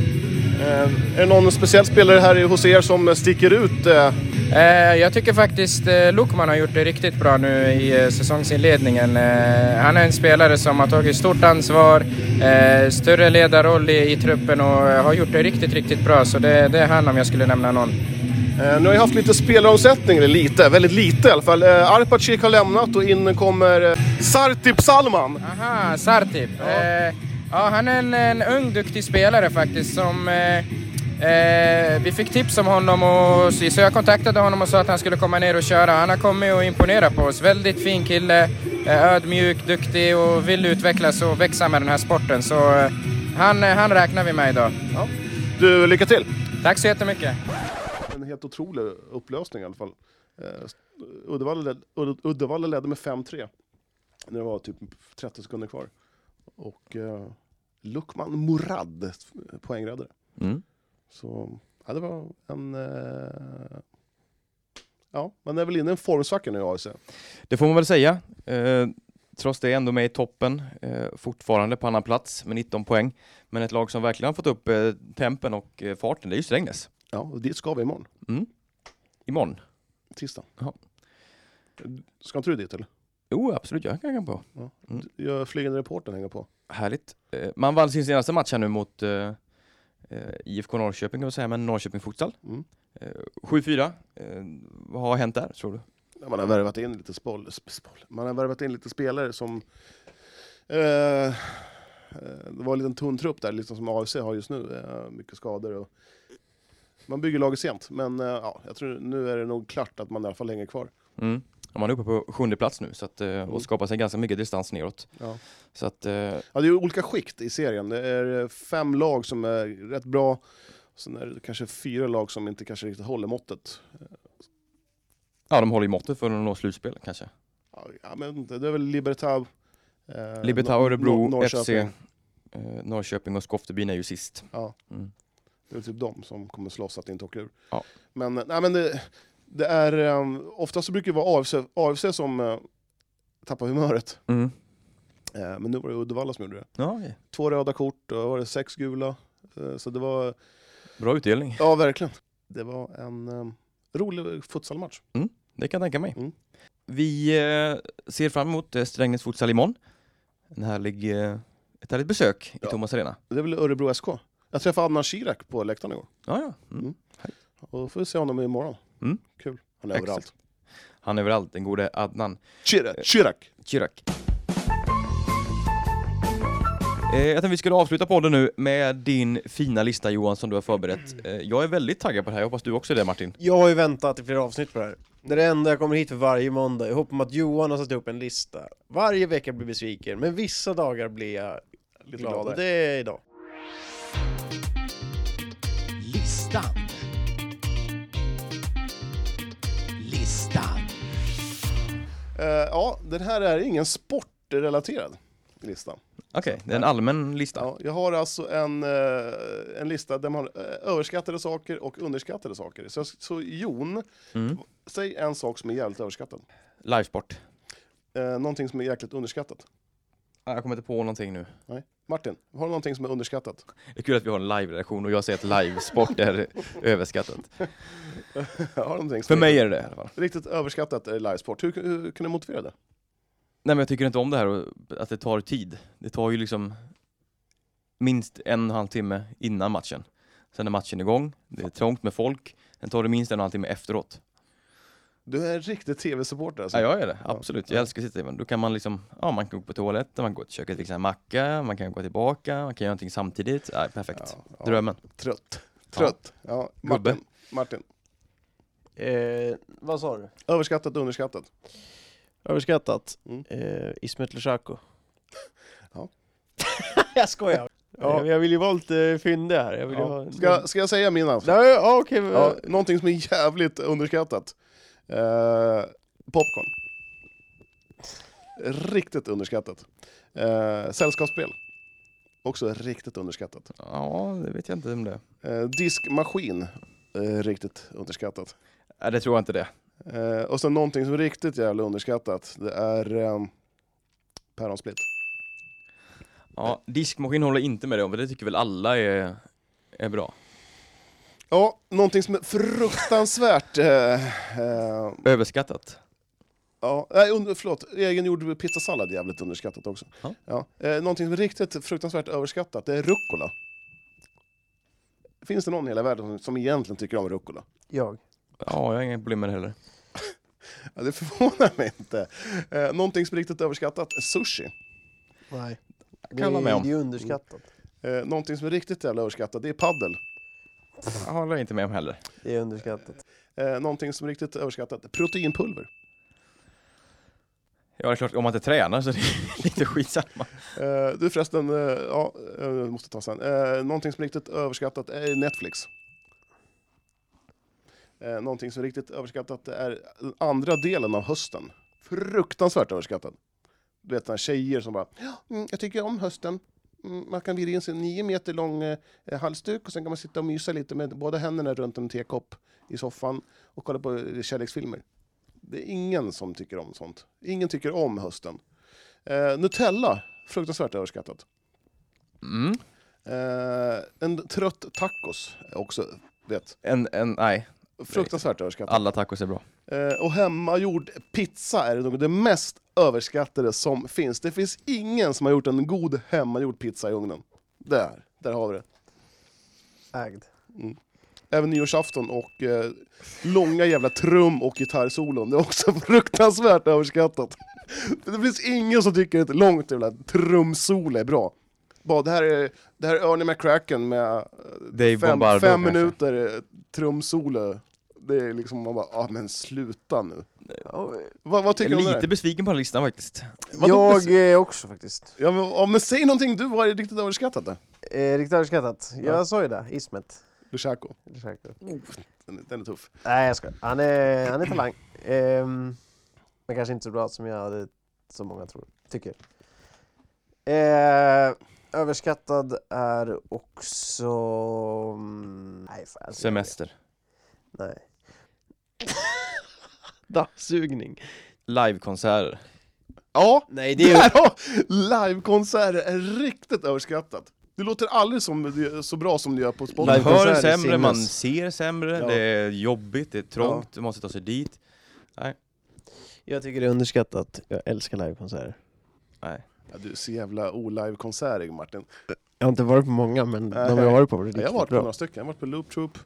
[SPEAKER 3] Eh, är det någon speciell spelare här hos er som sticker ut? Eh,
[SPEAKER 4] Eh, jag tycker faktiskt eh, Lukman har gjort det riktigt bra nu i eh, säsongsinledningen. Eh, han är en spelare som har tagit stort ansvar, eh, större ledarroll i, i truppen och eh, har gjort det riktigt, riktigt bra. Så det, det är han om jag skulle nämna någon.
[SPEAKER 3] Eh, Nu har jag haft lite spelaromsättning, eller lite, väldigt lite i alla fall. Eh, Arpacic har lämnat och in kommer eh, Sartip Salman.
[SPEAKER 4] Aha, Sartip. Ja. Eh, ja, han är en, en ung duktig spelare faktiskt som eh, eh, vi fick tips om honom och så så jag kontaktade honom och sa att han skulle komma ner och köra. Han har kommit och imponerat på oss. Väldigt fin kille, eh, ödmjuk, duktig och vill utvecklas och växa med den här sporten. Så eh, han, eh, han räknar vi med idag. Ja.
[SPEAKER 3] Du, lycka till!
[SPEAKER 4] Tack så jättemycket.
[SPEAKER 3] En helt otrolig upplösning i alla fall. Eh, Uddevalla, led, Ud- Uddevalla ledde med 5-3 när det var typ 30 sekunder kvar. Och eh, Lukman Murad poängräddade.
[SPEAKER 1] Mm.
[SPEAKER 3] Så ja, det var en... Eh, ja, man är väl inne i en formsvacka nu i AIC.
[SPEAKER 1] Det får man väl säga. Eh, trots det är ändå med i toppen, eh, fortfarande på annan plats med 19 poäng. Men ett lag som verkligen har fått upp eh, tempen och eh, farten, det är ju Strängnäs.
[SPEAKER 3] Ja, och dit ska vi imorgon,
[SPEAKER 1] Imorgon.
[SPEAKER 3] tisdag.
[SPEAKER 1] Jaha.
[SPEAKER 3] Ska inte du dit eller?
[SPEAKER 1] Jo, absolut, jag kan hänga på.
[SPEAKER 3] Jag flygande reportern hänger på.
[SPEAKER 1] Härligt. Eh, man vann sin senaste match här nu mot eh, eh, IFK Norrköping kan man säga, men Norrköping Futsal.
[SPEAKER 3] Mm.
[SPEAKER 1] Eh, 7-4. Eh, vad har hänt där, tror du?
[SPEAKER 3] Ja, Man har värvat in lite spol, sp- spol. Man har värvat in lite spelare som... Eh, eh, det var en liten tunn trupp där, liksom som AFC har just nu. Eh, mycket skador och... Man bygger laget sent, men eh, ja, jag tror nu är det nog klart att man i alla fall hänger kvar.
[SPEAKER 1] Mm. Ja, Man är uppe på sjunde plats nu så att, eh, och skapar sig ganska mycket distans neråt.
[SPEAKER 3] Ja.
[SPEAKER 1] Så att, eh,
[SPEAKER 3] Ja, det är ju olika skikt i serien. Det är eh, fem lag som är rätt bra, sen är det kanske fyra lag som inte kanske riktigt håller måttet.
[SPEAKER 1] ja, de håller ju måttet för att nå slutspel kanske.
[SPEAKER 3] Ja, jag vet inte, det är väl Libertad... Eh,
[SPEAKER 1] Libertad, Örebro,
[SPEAKER 3] Nor-
[SPEAKER 1] FC,
[SPEAKER 3] Norrköping.
[SPEAKER 1] eh, Norrköping och Skoftebyn är ju sist.
[SPEAKER 3] Ja.
[SPEAKER 1] Mm.
[SPEAKER 3] Det är väl typ de som kommer slåss att inte åka ur.
[SPEAKER 1] Ja.
[SPEAKER 3] Men, nej, men det, det är, um, oftast så brukar det vara AFC, AFC som eh, tappar humöret.
[SPEAKER 1] Mm.
[SPEAKER 3] Eh, men nu var det Uddevalla som gjorde det.
[SPEAKER 1] Ja, okej.
[SPEAKER 3] Två röda kort och var det sex gula. Eh, så det var,
[SPEAKER 1] bra utdelning,
[SPEAKER 3] ja verkligen. Det var en um, rolig futsalmatch.
[SPEAKER 1] det kan jag tänka mig.
[SPEAKER 3] Mm.
[SPEAKER 1] Vi eh, ser fram emot eh, Strängnäs Futsal imorgon. En härlig, eh, ett härligt besök i
[SPEAKER 3] Ja.
[SPEAKER 1] Thomas Arena.
[SPEAKER 3] Det är väl Örebro SK. Jag träffade Adnan Shirak på läktaren igår.
[SPEAKER 1] Ja, ja. Mm.
[SPEAKER 3] Och då får vi se honom imorgon.
[SPEAKER 1] Mm.
[SPEAKER 3] Kul. Han är
[SPEAKER 1] Exakt.
[SPEAKER 3] överallt.
[SPEAKER 1] Han är överallt, den gode Adnan
[SPEAKER 3] Shirak! Shirak!
[SPEAKER 1] Kirak. Eh, jag tänkte vi skulle avsluta podden nu med din fina lista Johan som du har förberett. Eh, jag är väldigt taggad på det här, jag hoppas du också är det Martin.
[SPEAKER 2] Jag har ju väntat i flera avsnitt på det här. Det är det enda jag kommer hit för varje måndag. Jag hoppas att Johan har satt upp en lista. Varje vecka blir jag besviken, men vissa dagar blir jag
[SPEAKER 3] Lite
[SPEAKER 2] glad. Och
[SPEAKER 3] gladare.
[SPEAKER 2] det är idag.
[SPEAKER 5] Listan. Listan.
[SPEAKER 3] Eh, ja, den här är ingen sportrelaterad lista.
[SPEAKER 1] Okej, det är en allmän lista.
[SPEAKER 3] Ja, jag har alltså en, eh, en lista där man har eh, överskattade saker och underskattade saker. Så, så Jon,
[SPEAKER 1] Mm.
[SPEAKER 3] säg en sak som är jävligt överskattad.
[SPEAKER 1] Livesport.
[SPEAKER 3] Eh, någonting som är jäkligt underskattat.
[SPEAKER 1] Ah, Jag kommer inte på någonting nu.
[SPEAKER 3] Martin, har du någonting som är underskattat?
[SPEAKER 1] Det är kul att vi har en live-redaktion och jag säger att livesport är överskattat.
[SPEAKER 3] har du någonting
[SPEAKER 1] För
[SPEAKER 3] som
[SPEAKER 1] mig är det det i alla fall.
[SPEAKER 3] Är riktigt överskattat är livesport. Hur, hur kan du motivera det?
[SPEAKER 1] Nej men jag tycker inte om det här och att det tar tid. Det tar ju liksom minst en och en halv timme innan matchen. Sen är matchen igång, det är trångt med folk. Sen tar det minst en och en halv timme efteråt.
[SPEAKER 3] Du är en riktig tv-supporter alltså.
[SPEAKER 1] Ja, jag är det. Absolut.
[SPEAKER 3] Ja.
[SPEAKER 1] Jag älskar sitt Då kan man liksom, ja man kan gå på toaletten, man går till köket och fixa en macka, man kan gå tillbaka, man kan göra någonting samtidigt. Nej, perfekt.
[SPEAKER 3] Ja, ja.
[SPEAKER 1] Drömmen.
[SPEAKER 3] Trött. Trött. Ja.
[SPEAKER 1] Gubbe.
[SPEAKER 3] Martin. Martin.
[SPEAKER 2] Eh, vad sa du?
[SPEAKER 3] Överskattat, underskattat.
[SPEAKER 2] Överskattat?
[SPEAKER 3] Mm.
[SPEAKER 2] Eh, Ismet Lushako.
[SPEAKER 3] Ja.
[SPEAKER 2] jag skojar.
[SPEAKER 3] Ja.
[SPEAKER 2] Ja. men Jag vill ju vara lite fyndig här. Jag vill ju
[SPEAKER 3] Ja.
[SPEAKER 2] ha...
[SPEAKER 3] Ska, ska jag säga min alltså?
[SPEAKER 2] Nej, ja, okej. men-
[SPEAKER 3] Ja, någonting som är jävligt underskattat. Eh, popcorn. Riktigt underskattat. Eh, sällskapsspel. Också riktigt underskattat.
[SPEAKER 1] Ja, det vet jag inte om det
[SPEAKER 3] Eh, diskmaskin. Eh, riktigt underskattat.
[SPEAKER 1] Nej, det tror jag inte det.
[SPEAKER 3] Eh, och sen någonting som är riktigt jävla underskattat. Det är eh, päronsplitt.
[SPEAKER 1] Ja, diskmaskin håller jag inte med dig om, för det tycker väl alla är, är bra.
[SPEAKER 3] Ja, någonting som är fruktansvärt... eh, eh,
[SPEAKER 1] Överskattat.
[SPEAKER 3] Ja, nej, under, förlåt. Egengjord pizzasallad är jävligt underskattat också.
[SPEAKER 1] Ja.
[SPEAKER 3] Ja. Eh, någonting som är riktigt fruktansvärt överskattat, det är rucola. Finns det någon i hela världen som, som egentligen tycker om rucola?
[SPEAKER 2] Jag.
[SPEAKER 1] Ja, jag har inga problem med det heller.
[SPEAKER 3] Ja, det förvånar mig inte. Eh, någonting som är riktigt överskattat, sushi.
[SPEAKER 2] Nej. Det
[SPEAKER 1] kan jag vara med
[SPEAKER 2] är-
[SPEAKER 1] om.
[SPEAKER 2] Det är underskattat.
[SPEAKER 3] Eh, någonting som är riktigt jävla överskattat, det är paddel.
[SPEAKER 1] Jag håller inte med om heller.
[SPEAKER 2] Det är underskattat.
[SPEAKER 3] Eh, någonting som är riktigt överskattat, proteinpulver.
[SPEAKER 1] Ja, det är klart, om man inte tränar så är det lite skitsamma.
[SPEAKER 3] Eh, du förresten, eh, ja, eh, jag måste ta sen. Eh, någonting som är riktigt överskattat är Netflix. Eh, någonting som är riktigt överskattat är andra delen av hösten. Fruktansvärt överskattat. Du vet, såna här tjejer som bara "Ja, mm, ”Jag tycker om hösten”. Mm, Man kan vira in sig en nio meter lång eh, halsduk och sen kan man sitta och mysa lite med båda händerna runt en tekopp i soffan och kolla på eh, kärleksfilmer. Det är ingen som tycker om sånt. Ingen tycker om hösten. Eh, Nutella, fruktansvärt överskattat.
[SPEAKER 1] Mm.
[SPEAKER 3] Eh, en trött tacos, är också vet,
[SPEAKER 1] En, en, nej,
[SPEAKER 3] fruktansvärt överskattat.
[SPEAKER 1] alla tacos är bra.
[SPEAKER 3] Eh, och hemmagjord pizza är nog det mest överskattade som finns. Det finns ingen som har gjort en god hemmagjord pizza i ugnen. Där, där har vi det.
[SPEAKER 2] Ägd.
[SPEAKER 3] Även nyårsafton och eh, långa jävla trum och gitarrsolon. Det är också fruktansvärt överskattat. Det finns ingen som tycker att långt jävla trumsolo är bra. Bara, det här är, det här är Ernie McCracken med eh,
[SPEAKER 1] Dave
[SPEAKER 3] fem,
[SPEAKER 1] Bombardo
[SPEAKER 3] fem
[SPEAKER 1] kanske.
[SPEAKER 3] minuter eh, trumsolo. Det är liksom, man bara, ah, men sluta nu.
[SPEAKER 2] Ja,
[SPEAKER 3] Vad, vad
[SPEAKER 1] Jag
[SPEAKER 3] tycker du om det
[SPEAKER 1] är lite
[SPEAKER 3] där?
[SPEAKER 1] besviken på den här listan faktiskt.
[SPEAKER 3] Vadå
[SPEAKER 2] Jag
[SPEAKER 3] precis?
[SPEAKER 2] är också faktiskt.
[SPEAKER 3] Ja, men, ja, men säg någonting du har riktigt överskattat det.
[SPEAKER 2] Eh, riktigt överskattat. Jag sa ju det, Ismet.
[SPEAKER 3] Lushako,
[SPEAKER 2] Lushako.
[SPEAKER 3] den, den är tuff.
[SPEAKER 2] Nej jag skojar. Han är, han är talang. Ehm, men kanske inte så bra som jag hade, som många tror, tycker. Eh, överskattad är också... mm, Nej, fan, alltså,
[SPEAKER 1] Semester.
[SPEAKER 2] Nej. Dammsugning.
[SPEAKER 1] Livekonserter.
[SPEAKER 3] Ja,
[SPEAKER 2] Nej, det
[SPEAKER 3] det
[SPEAKER 2] är ju...
[SPEAKER 3] livekonserter är riktigt överskattat. Det låter aldrig som, så bra som det gör på Spotify.
[SPEAKER 1] Man
[SPEAKER 2] Livekonserter
[SPEAKER 1] hör
[SPEAKER 2] är
[SPEAKER 1] sämre, man
[SPEAKER 2] sinnes.
[SPEAKER 1] ser sämre,
[SPEAKER 3] Ja.
[SPEAKER 1] det är jobbigt, det är trångt, man måste ta sig dit.
[SPEAKER 2] Jag tycker det är underskattat. Jag älskar livekonserter.
[SPEAKER 3] Ja, du är så jävla olivekonsertig Martin.
[SPEAKER 2] Jag har inte varit på många, men de
[SPEAKER 3] Nej.
[SPEAKER 2] jag har varit på var
[SPEAKER 3] Jag
[SPEAKER 2] riktigt
[SPEAKER 3] har varit på
[SPEAKER 2] bra.
[SPEAKER 3] några stycken, jag har varit på Loop Troop,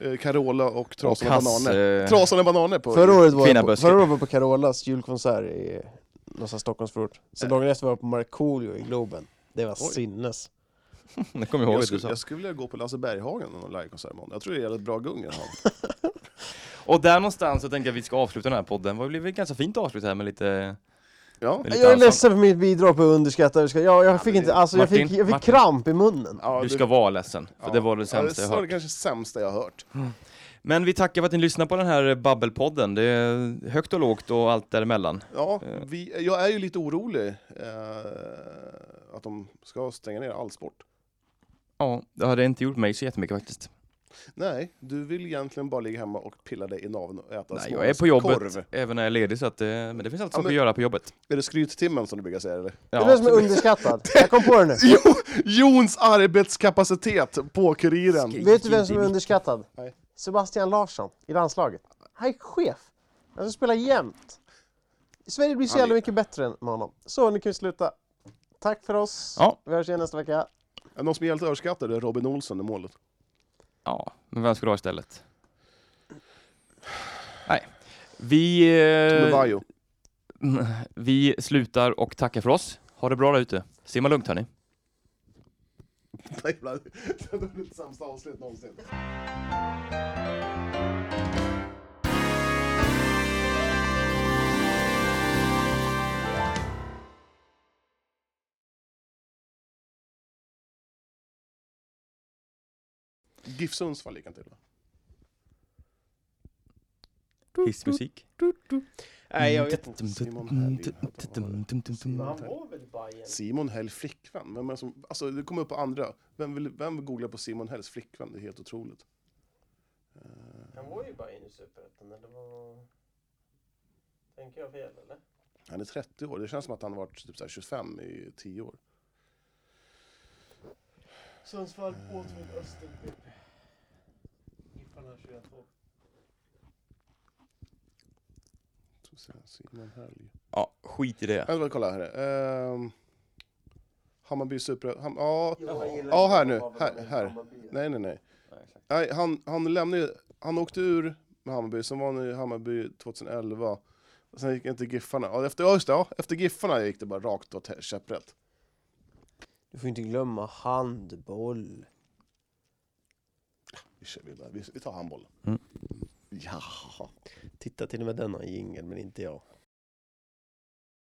[SPEAKER 3] eh, Carola och Trasan och
[SPEAKER 1] Kass,
[SPEAKER 3] bananer.
[SPEAKER 1] eh,
[SPEAKER 3] Trasan och bananer på...
[SPEAKER 2] Förra året var
[SPEAKER 1] Fina
[SPEAKER 2] jag på,
[SPEAKER 1] buskar.
[SPEAKER 2] förra året var jag på Carolas julkonsert i någonstans Stockholmsförort. Sen dagen efter var jag på Markoolio i Globen. Det var
[SPEAKER 3] Äh. Oj.
[SPEAKER 2] sinnes.
[SPEAKER 1] Det kommer jag ihåg
[SPEAKER 3] jag
[SPEAKER 1] att du
[SPEAKER 3] skulle,
[SPEAKER 1] sa.
[SPEAKER 3] jag skulle vilja gå på Lasse Berghagen och livekonsert imorgon. Jag tror det är jävligt bra gung i alla fall.
[SPEAKER 1] Och där någonstans så tänker jag att vi ska avsluta den här podden. Det blev väl ganska fint avslut här med lite...
[SPEAKER 3] Ja.
[SPEAKER 1] Med lite
[SPEAKER 2] Jag är
[SPEAKER 1] allsång.
[SPEAKER 2] ledsen för mitt bidrag på underskattad överskattad. Jag, jag fick
[SPEAKER 3] det-
[SPEAKER 2] inte, alltså jag
[SPEAKER 1] Martin,
[SPEAKER 2] fick, jag fick
[SPEAKER 1] Martin.
[SPEAKER 2] kramp i munnen.
[SPEAKER 3] Ja,
[SPEAKER 1] Du ska vara ledsen, för
[SPEAKER 3] ja.
[SPEAKER 1] det var det
[SPEAKER 3] Ja,
[SPEAKER 1] sämsta jag
[SPEAKER 3] var
[SPEAKER 1] hört.
[SPEAKER 3] det kanske sämsta jag har hört.
[SPEAKER 1] Men vi tackar för att ni lyssnar på den här Babbelpodden. Det är högt och lågt och allt däremellan.
[SPEAKER 3] Ja,
[SPEAKER 1] Eh.
[SPEAKER 3] vi, jag är ju lite orolig eh, att de ska stänga ner all sport.
[SPEAKER 1] Ja, det hade inte gjort mig så jättemycket faktiskt.
[SPEAKER 3] Nej, du vill egentligen bara ligga hemma och pilla dig i naveln och äta
[SPEAKER 1] Nej,
[SPEAKER 3] små
[SPEAKER 1] jag är på jobbet,
[SPEAKER 3] korv.
[SPEAKER 1] även när jag är ledig, så att, eh, men det finns alltid
[SPEAKER 3] Ja,
[SPEAKER 1] saker
[SPEAKER 3] men-
[SPEAKER 1] att göra på jobbet.
[SPEAKER 3] Är det skryttimmen som du brukar säga eller?
[SPEAKER 2] Det är det
[SPEAKER 1] Ja,
[SPEAKER 2] som är underskattad. Jag kom på det nu.
[SPEAKER 3] Jo, Jons arbetskapacitet på Kuriren.
[SPEAKER 2] Vet du vem som är underskattad?
[SPEAKER 3] Nej.
[SPEAKER 2] Sebastian Larsson i landslaget. Han är chef. Han spelar jämt. Sverige blir så
[SPEAKER 3] Han är-
[SPEAKER 2] jävla mycket bättre än med honom. Så nu kan vi sluta. Tack för oss.
[SPEAKER 1] Ja.
[SPEAKER 2] Vi hörs igen nästa vecka.
[SPEAKER 3] Någon som är helt överskattad är Robin Olsson i målet.
[SPEAKER 1] ja, men vem ska du ha istället? Nej. Vi, eh,
[SPEAKER 3] Tomevayo.
[SPEAKER 1] vi slutar och tackar för oss. Ha det bra där ute. Simma lugnt hörni.
[SPEAKER 3] Det jävla- det har blivit sämsta avsnitt någonsin. GIF Sundsvall gick han till va?
[SPEAKER 1] Hissmusik.
[SPEAKER 2] Nej, jag vet inte.
[SPEAKER 3] Simon Hällin,
[SPEAKER 2] Men han var väl Bajen?
[SPEAKER 3] Simon Hell flickvän? Vem är som, alltså det kommer upp på andra. Vem vill, vem vill googla på Simon Hells flickvän? Det är helt otroligt. Eh,
[SPEAKER 2] Han var ju Bajen i Superettan, eller vad... Tänker jag fel, eller?
[SPEAKER 3] Han är 30 år. Det känns som att han har varit typ så här 25 i 10 år.
[SPEAKER 2] Sundsvall, Åtvid, Österby. Giffarna 21 år.
[SPEAKER 3] Så ser jag Simon Helg.
[SPEAKER 1] Ja, skit i det.
[SPEAKER 3] Jag vill kolla här. Ehm, Hammarby Super... Ham, ja,
[SPEAKER 2] Jag gillar
[SPEAKER 3] ja,
[SPEAKER 2] inte att
[SPEAKER 3] här nu.
[SPEAKER 2] vara med
[SPEAKER 3] Här,
[SPEAKER 2] i
[SPEAKER 3] här.
[SPEAKER 2] Hammarby.
[SPEAKER 3] Nej, nej, nej. nej han, han lämnade ju- Han åkte ur med Hammarby, sen var han i Hammarby 2011. Och sen gick han till Giffarna. Ja, efter, ja, just det, ja, efter Giffarna gick det bara rakt åt käpprätt.
[SPEAKER 2] Du får inte glömma handboll.
[SPEAKER 3] Vi, kör vidare. vi, vi tar handbollen. Ja.
[SPEAKER 2] Titta till och med denna jingel, men inte jag.